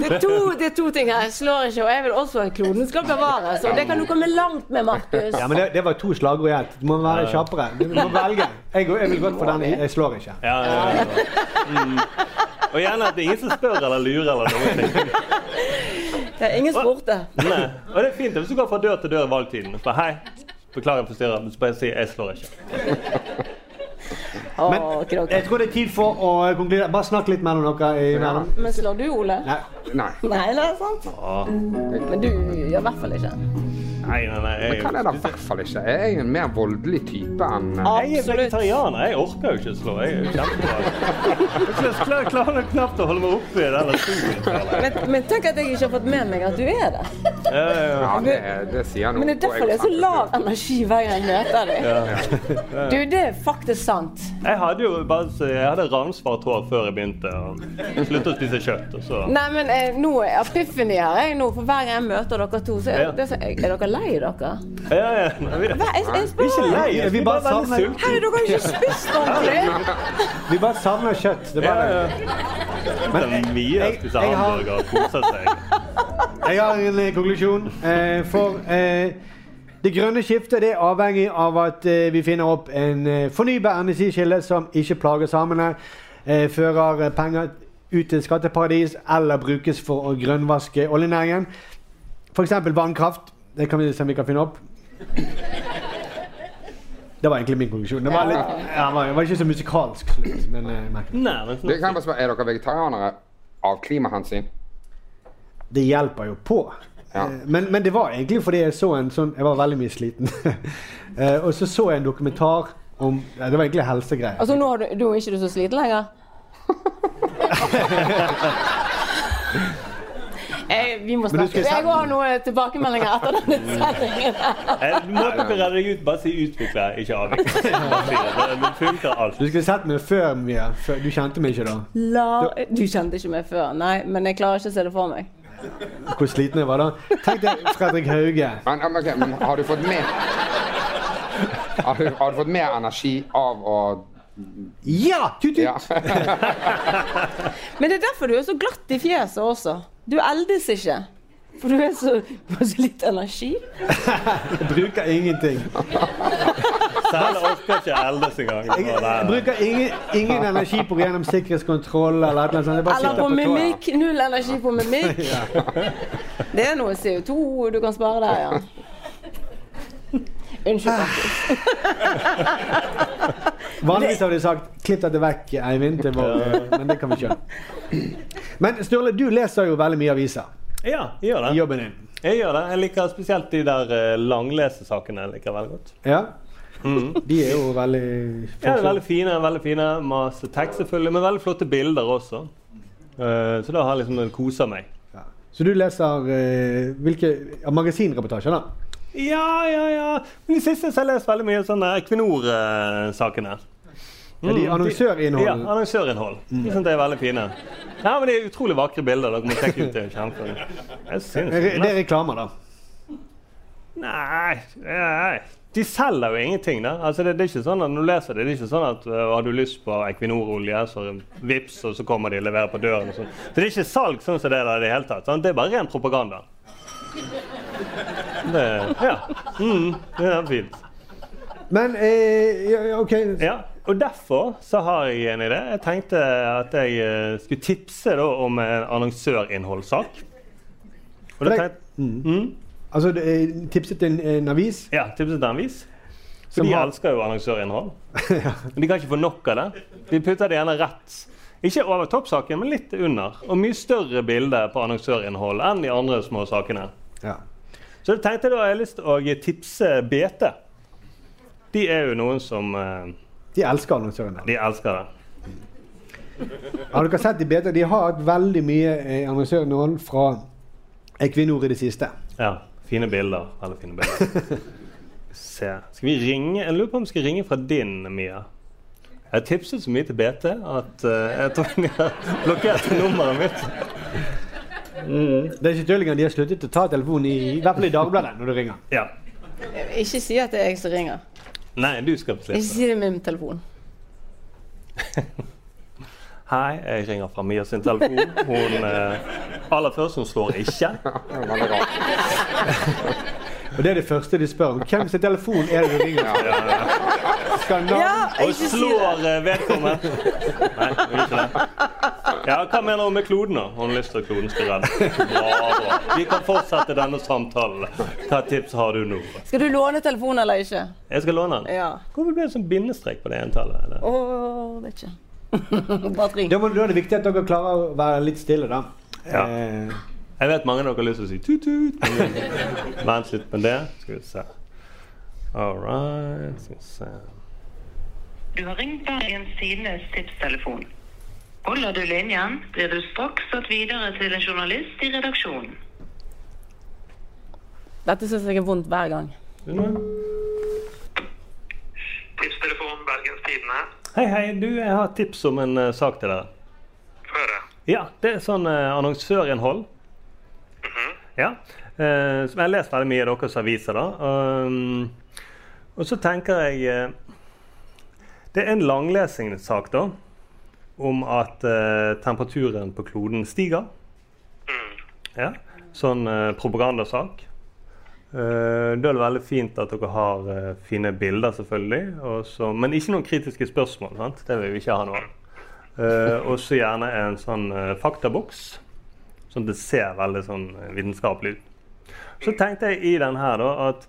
Speaker 3: Det er, to, det er to ting her. Jeg slår ikke, og jeg vil også at kloden skal bevares. Og det kan du komme langt med, Markus.
Speaker 2: Ja, men det, det var to slagord i ett. Du må være
Speaker 4: Ja, ja.
Speaker 2: kjappere. Du må velge. Jeg, går- jeg vil godt for den. Jeg slår ikke.
Speaker 4: Ja, ja, ja. Mm. Og gjerne at det er ingen som spør eller lurer eller noen ting.
Speaker 3: Det er ingen spurte.
Speaker 4: Nei. Og det er fint hvis du går fra dør til dør i valgtiden. Så hei, beklager jeg forstyrrer, men så bare si 'jeg slår ikke'.
Speaker 2: Men jeg tror det er tid for å konkludere. Bare snakk litt mellom dere imellom.
Speaker 3: Men slår du, Ole?
Speaker 2: Nei.
Speaker 5: Nei.
Speaker 3: Nei, det er sant. Men du gjør i hvert fall ikke.
Speaker 4: Nei, nei, nei.
Speaker 5: Men hva er det i hvert fall ikke? Jeg er en mer voldelig type enn
Speaker 4: Jeg er vegetarianer. Jeg orker jo ikke å slå. Jeg er jo kjempebra. Jeg klarer- klarer nok knapt å holde meg oppe i denne stolen.
Speaker 3: Men, men tenk at jeg ikke har fått med meg at du er det.
Speaker 4: Ja, ja, ja.
Speaker 5: Ja, det, det sier noe.
Speaker 3: Men det er derfor det er så lav energi hver gang jeg møter deg.
Speaker 4: Ja.
Speaker 3: Du, det er faktisk sant.
Speaker 4: Jeg hadde jo bare så- jeg hadde ravnsvart hår før jeg begynte og sluttet å spise kjøtt. Og så.
Speaker 3: Nei, men eh, nå er epiphany her. Jeg nå, for hver gang jeg møter dere to, så er,
Speaker 4: Ja.
Speaker 3: det, så er, er dere lei dere?
Speaker 4: Ja, ja. Nei, vi,
Speaker 3: Hva, jeg, jeg
Speaker 4: vi er
Speaker 3: spør.
Speaker 4: ikke lei.
Speaker 2: Vi
Speaker 4: Vi
Speaker 2: bare
Speaker 4: bare veldig
Speaker 2: savner-
Speaker 4: sultne.
Speaker 3: Herre, dere har ikke spist ordentlig!
Speaker 2: Vi bare savner kjøtt. Det var det.
Speaker 4: Det er mye å spise
Speaker 2: jeg har-
Speaker 4: hamburger og kose seg.
Speaker 2: Jeg har en eh, konklusjon. Eh, for eh, det grønne skiftet det er avhengig av at eh, vi finner opp en eh, fornybar energikilde som ikke plager samene, eh, fører eh, penger ut til skatteparadis eller brukes for å grønnvaske oljenæringen. F.eks. vannkraft. Det kan vi se om vi kan finne opp. Det var egentlig min konklusjon. Det var, litt, ja, det var- det var ikke så musikalsk slutt, men eh, merkelig.
Speaker 4: sånn-
Speaker 5: Det kan jeg bare spørre, Er dere vegetarianere av klimahensyn?
Speaker 2: Det hjelper jo på.
Speaker 5: Ja.
Speaker 2: Eh, Men, men det var egentlig fordi jeg så en sånn Jeg var veldig mye sliten. Eh, og så så jeg en dokumentar om ja, Det var egentlig helsegreier.
Speaker 3: Altså, nå, har du, nå er ikke du så sliten lenger. jeg, vi må
Speaker 2: Men du
Speaker 3: snakke.
Speaker 2: skal
Speaker 3: Jeg
Speaker 2: sende-
Speaker 3: går og har noen tilbakemeldinger etter denne sendingen.
Speaker 4: Jeg Eh, må ikke redde deg ut. Bare si 'utvikle', ikke 'avvikle'. Bare si det. Det funker alt.
Speaker 2: Du skulle sett meg før, Mia. Før, du kjente meg ikke da.
Speaker 3: La, du kjente ikke meg før, nei, men jeg klarer ikke å se det for meg.
Speaker 2: Hvor sliten jeg var da. Tenk deg Fredrik Hauge.
Speaker 5: Men, ja, men, ok, men har du fått mer har du, har du fått mer energi av å
Speaker 17: Ja! Tut, tut.
Speaker 3: Men det er derfor du er så glatt i fjeset også. Du eldes ikke. For du er så, du har så litt energi.
Speaker 2: Jeg bruker ingenting.
Speaker 4: Selv orker ikke eldes engang.
Speaker 2: Jeg jeg bruker ingen, ingen energi på å gå gjennom sikkerhetskontroll eller et eller annet sånt. Jeg bare
Speaker 3: Eller
Speaker 2: sitter
Speaker 3: på
Speaker 2: på tåa.
Speaker 3: mimikk. Null energi på mimikk. Det er noe CO2 du kan spare der, ja. Unnskyld.
Speaker 2: Vanligvis har de sagt 'klipp dette vekk, Eivind', til vår, men det kan vi ikke gjøre. Men Sturle, du leser jo veldig mye aviser.
Speaker 4: Ja, jeg gjør det.
Speaker 2: Jobben din.
Speaker 4: Jeg gjør det. Jeg liker spesielt de der eh, langlesesakene jeg liker veldig godt.
Speaker 2: Ja? De er jo veldig
Speaker 4: Mm. Ja, veldig fine, veldig fine. Masse tekst selvfølgelig, men veldig flotte bilder også. Eh, så da har jeg liksom det koser meg.
Speaker 2: Så du leser eh, hvilke ja, magasinreportasjer, da?
Speaker 4: Ja, ja, ja. Men i siste så har jeg lest veldig mye sånne Equinor-sakene. Mm.
Speaker 2: Ja, de annonsørinnhold. Mm.
Speaker 4: Ja, annonsørinnhold. De synes det er veldig fine. Ja, men det er utrolig vakre bilder. Dere må sjekke ut det. er Kjempe. Jeg synes
Speaker 2: Re- Det er reklamer, da.
Speaker 4: Nei, nei. De selger jo ingenting, da. Altså, det, det er ikke sånn at når du leser det, det er ikke sånn at øh, har du lyst på Equinor-olje, så vips, og så kommer de og leverer på døren. Og sånn. så det er ikke salg sånn som det er der i det hele tatt. Sant? Det er bare ren propaganda. Det, ja. Mm, det er fint.
Speaker 2: Men eh, ja, ja, OK.
Speaker 4: Ja, og derfor så har jeg en idé. Jeg tenkte at jeg eh, skulle tipse da, om en annonsørinnholdssak. Og da
Speaker 2: det-
Speaker 4: tenkte,
Speaker 2: Altså, det er tipset til en, en avis?
Speaker 4: Ja, tipset til en avis. For
Speaker 2: Som
Speaker 4: de
Speaker 2: har-
Speaker 4: elsker jo annonsørinnhold. Men de kan ikke få nok av det. De putter det gjerne rett. Ikke over toppsaken, men litt under. Og mye større bilde på annonsørinnhold enn de andre små sakene.
Speaker 2: Ja.
Speaker 4: Så jeg tenkte da jeg har lyst til å tipse BT. De er jo noen som eh,
Speaker 2: De elsker annonsørene.
Speaker 4: De elsker det.
Speaker 2: Har dere sett de bedre? De har hatt veldig mye eh, annonsørinnhold fra Equinor i det siste.
Speaker 4: Ja. Fine bilder. Veldig fine bilder. Se. Skal vi ringe? Jeg lurer på om vi skal ringe fra din, Mia. Jeg har tipset så mye til BT at eh, jeg tror de har blokkert nummeret mitt.
Speaker 2: Det er ikke tull engang. De har sluttet å ta telefonen i, i hvert fall i Dagbladet når du ringer.
Speaker 4: Ja.
Speaker 3: Ikke si at det er jeg som ringer.
Speaker 4: Nei, du skal
Speaker 3: Ikke
Speaker 4: slippe.
Speaker 3: si det med min telefon.
Speaker 4: Hei, jeg ringer fra Mia sin telefon. Hun eh, Aller først, hun slår ikke.
Speaker 2: Og det er det første de spør om. Hvem sin telefon er det du ringer? Skal navn
Speaker 4: Og slår eh, vedkommende. Nei, hun gjør ikke det. Ja, Hva mener hun med kloden, da? Hun har lyst til at kloden skal redde. Bra, bra. Vi kan fortsette denne samtalen. Hva tips har du nå?
Speaker 3: Skal du låne telefonen eller ikke?
Speaker 4: Jeg skal låne den.
Speaker 3: Ja.
Speaker 4: Hvorfor ble det sånn bindestrek på det entallet? eller?
Speaker 3: Å, vet ikke. Bare ring.
Speaker 2: Da, må, da er det viktig at dere klarer å være litt stille, da. Eh,
Speaker 4: Ja. Jeg vet mange av dere har lyst til å si tut-tut. men Vent litt med det. Skal vi se. All right. Skal vi se.
Speaker 18: Du har ringt Bergens Tidendes tipstelefon. Holder du linjen, blir du straks satt videre til en journalist i redaksjonen.
Speaker 3: Dette syns jeg er vondt hver gang.
Speaker 4: Hei, hei. Du, jeg har et tips om en eh, sak til dere. Ja, det er sånn eh, annonsørinnhold. Ja. eh, som jeg har lest veldig mye i deres aviser, da. Um, og så tenker jeg eh, Det er en langlesingssak, da. Om at eh, temperaturen på kloden stiger. Ja. Sånn eh, propagandasak. Eh, da er det veldig fint at dere har eh, fine bilder, selvfølgelig. Og så, men ikke noen kritiske spørsmål. sant? Det vil vi ikke ha nå. Uh, og så gjerne en sånn eh, faktaboks. Sånn at det ser veldig sånn eh, vitenskapelig ut. Så tenkte jeg i den her da, at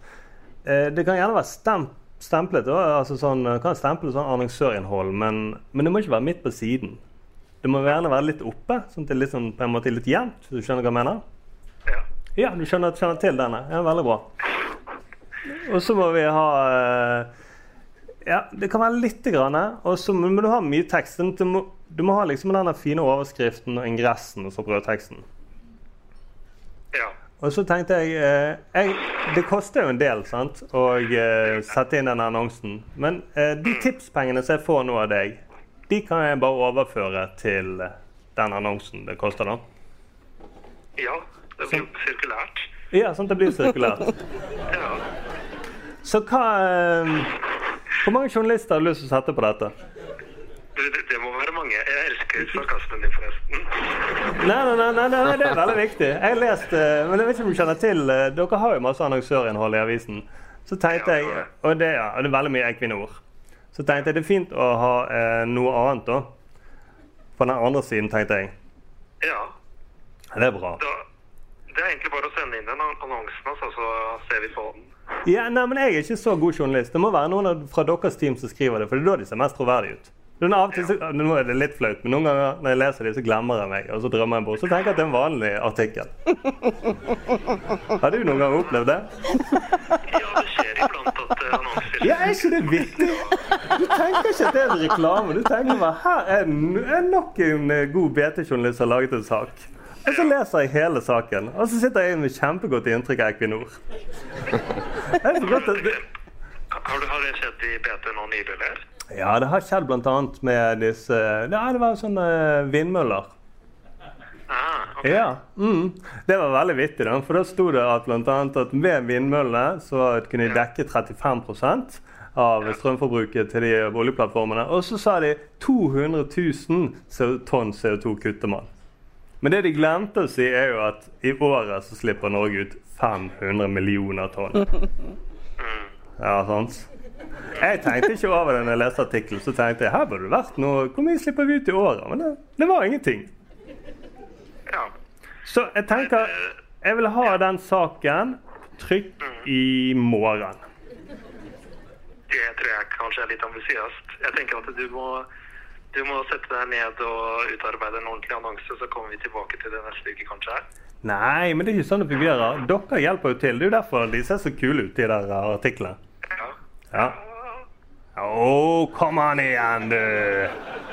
Speaker 4: eh, det kan gjerne være stem stemplet. Da, altså sånn, eh, kan stemple sånn annonsørinnhold, men, men det må ikke være midt på siden. Det må gjerne være litt oppe, sånn at det er litt sånn, på en måte litt jevnt. hvis Du skjønner hva jeg mener? Ja, du skjønner, skjønner til denne. Ja, veldig bra. Og så må vi ha eh, Ja, det kan være lite grann. eh, Og så må må du ha mye tekst. sånn at Du må, du må ha liksom denne fine overskriften og ingressen og så brødteksten. Og så tenkte jeg, eh, jeg Det koster jo en del sant, å eh, sette inn den annonsen. Men eh, de tipspengene som jeg får nå av deg, de kan jeg bare overføre til eh, den annonsen det koster, da.
Speaker 18: Ja, det blir sirkulært.
Speaker 4: Ja, sånn at det blir sirkulært. Så hva eh, Hvor mange journalister har du lyst til å sette på dette?
Speaker 19: ikke utslagsplassen din, forresten.
Speaker 4: Nei, nei, nei, nei, nei, det er veldig viktig. Jeg leste, men jeg vet ikke om du kjenner til eh, Dere har jo masse annonsørinnhold i avisen. Så tenkte jeg, og det, ja, og det er veldig mye Equinor, så tenkte jeg det er fint å ha eh, noe annet, da. På den andre siden, tenkte jeg.
Speaker 19: Ja.
Speaker 4: Det er bra.
Speaker 19: Da, det er egentlig bare å sende inn den an- annonsen, altså, så ser vi på den.
Speaker 4: Ja, nei, men Jeg er ikke så god journalist. Det må være noen av- fra deres team som skriver det. For det er da de ser mest troverdige ut. Men av og til, så, nå er det litt flaut, men noen ganger når jeg leser dem, så glemmer jeg meg. Og så drømmer jeg bort. Så tenker jeg at det er en vanlig artikkel. Har du noen gang opplevd det? Ja, det skjer iblant at annonser Ja, er ikke det vittig? Du tenker ikke at det er en reklame. Du tenker bare her er, n- er nok en eh, god BT-journalist som har laget en sak. Og så leser jeg hele saken, og så sitter jeg med kjempegodt inntrykk av Equinor. Det er så godt at det,
Speaker 19: Har, du, har det skjedd i BT nå nylig, eller?
Speaker 4: Ja, det har skjedd bl.a. med disse Ja, det var sånne vindmøller.
Speaker 19: Ah,
Speaker 4: Ja. Mm. Det var veldig vittig, da. For da sto det at blant annet at med vindmøllene så kunne de dekke 35 av strømforbruket til de oljeplattformene. Og så sa de 200 000 CO- tonn CO2 kutter man. Men det de glemte å si, er jo at i året så slipper Norge ut 500 millioner tonn. Ja, sant? Jeg tenkte ikke over det når jeg leste artikkelen. Så tenkte jeg her burde det vært noe Hvor mye slipper vi ut i året? Men det, det var ingenting. Så jeg tenker Jeg vil ha den saken trykk i morgen.
Speaker 19: Det tror jeg kanskje er litt ambisiøst. Jeg tenker at du må, du må sette deg ned og utarbeide en ordentlig annonse, så kommer vi tilbake til det neste uke, kanskje.
Speaker 4: Nei, men det er ikke sånn det fungerer. Dere hjelper jo til. Det er jo derfor de ser så kule ut, de der eh, artiklene. Ja. Å, kom an igjen, du!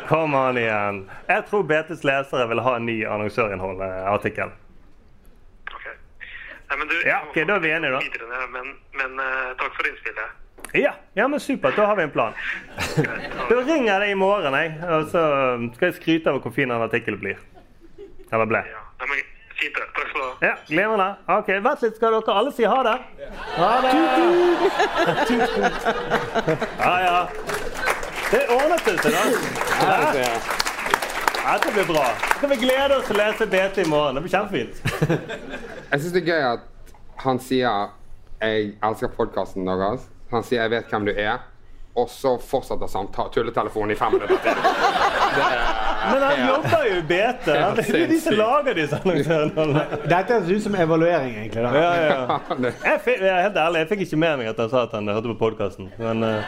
Speaker 4: Kom an igjen. Jeg tror BTs lesere vil ha en ny eh, annonsørinnhold-artikkel.
Speaker 19: Nei, men du,
Speaker 4: Ja, ok, da er vi enige, da.
Speaker 19: videre, ned, men, men eh, takk for innspillet.
Speaker 4: Ja, ja men supert. Da har vi en plan. Da ringer jeg deg i morgen, jeg. Og så skal jeg skryte av hvor fin den artikkelen blir. Eller ble.
Speaker 19: Nei, men fint det. Takk skal du ha.
Speaker 4: Ja, glimrende. OK, vent litt, skal dere alle si ha det? Ha det! Ja, ja. Det ordnet det seg, da. Ja. Dette blir bra. Så skal vi glede oss til å lese BT i morgen. Det blir kjempefint.
Speaker 5: Jeg syns det er gøy at han sier 'jeg elsker podkasten deres'. Han sier 'jeg vet hvem du er', og så fortsetter samtalen tulletelefonen i fem minutter til.
Speaker 4: Men han jobber jo i BT. Det er jo de som lager disse annonsørene.
Speaker 2: Dette høres ut som evaluering, egentlig. da.
Speaker 4: Ja, ja. Jeg, fikk, jeg er helt ærlig, jeg fikk ikke med meg at han sa at han hørte på podkasten. Men, eh,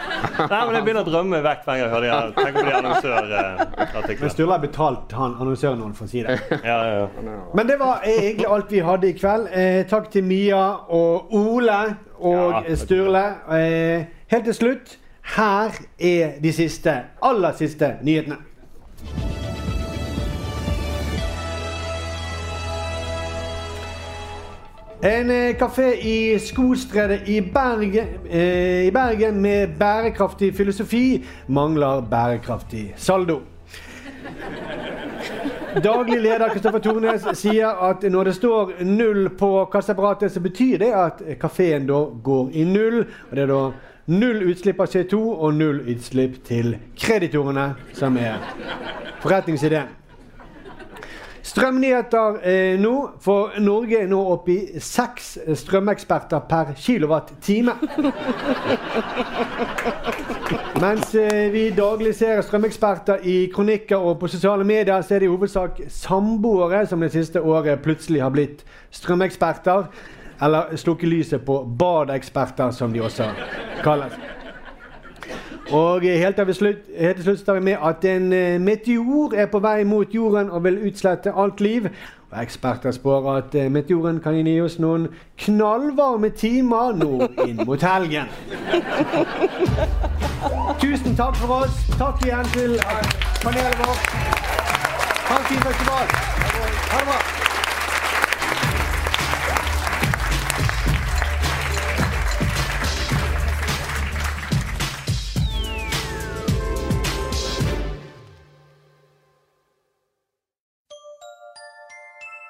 Speaker 4: nei, men jeg begynner å drømme vekk hver gang jeg hører det. her. Tenk på de
Speaker 2: Men
Speaker 4: annonsørartiklene.
Speaker 2: Sturle har betalt han annonsøren nå for å si det.
Speaker 4: Ja, ja, ja.
Speaker 2: Men det var egentlig alt vi hadde i kveld. Eh, takk til Mia og Ole og
Speaker 4: Ja,
Speaker 2: Sturle. Eh, helt til slutt, her er de siste, aller siste nyhetene. En eh, kafé i Skostredet i Bergen, eh, i Bergen med bærekraftig filosofi mangler bærekraftig saldo. Daglig leder Kristoffer Tornes sier at når det står null på kasseapparatet, så betyr det at kafeen da går i null. Og det er da null utslipp av CO2 og null utslipp til kreditorene, som er forretningsideen. Strømnyheter eh, nå, for Norge er nå oppe i seks strømeksperter per kilowatt-time. Mens eh, vi daglig ser strømeksperter i kronikker og på sosiale medier, så er det i hovedsak samboere som det siste året plutselig har blitt strømeksperter. Eller slukket lyset på badeeksperter, som de også kalles. Og helt til vi slutt, helt til slutt så tar vi med at en eh, meteor er på vei mot jorden og vil utslette alt liv. Og eksperter spår at eh, meteoren kan gi oss noen knallvarme timer nå inn mot helgen. Tusen takk for oss. Takk igjen til eh, panelet vårt. Ha en fin festival. Ha det bra.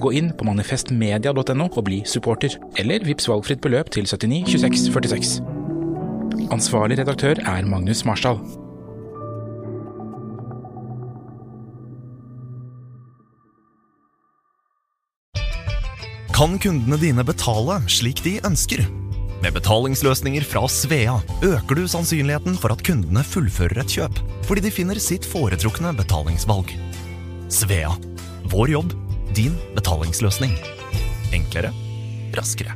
Speaker 1: Gå inn på manifestmedia.no og bli supporter, eller vips valgfritt beløp til 79 26 46. Ansvarlig redaktør er Magnus Marsdal.
Speaker 5: Kan kundene dine betale slik de ønsker? Med betalingsløsninger fra Svea øker du sannsynligheten for at kundene fullfører et kjøp, fordi de finner sitt foretrukne betalingsvalg. Svea vår jobb, din betalingsløsning. Enklere, raskere.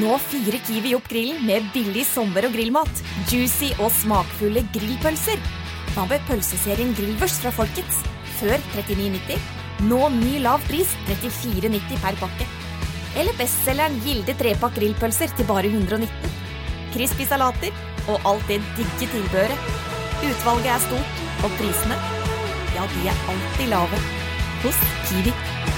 Speaker 20: Nå fyrer Kiwi opp grillen med billig sommer- og grillmat. Juicy og smakfulle grillpølser. Hva med pølseserien Grillvers fra Folkets? Før 39,90. Nå ny lav pris 34,90 per pakke. Eller bestselgeren Gilde trepakk grillpølser til bare 119. Crispy salater og alt det digge tilbehøret. Utvalget er stort, og prisene, ja, de er alltid lave. Hos Kiwi.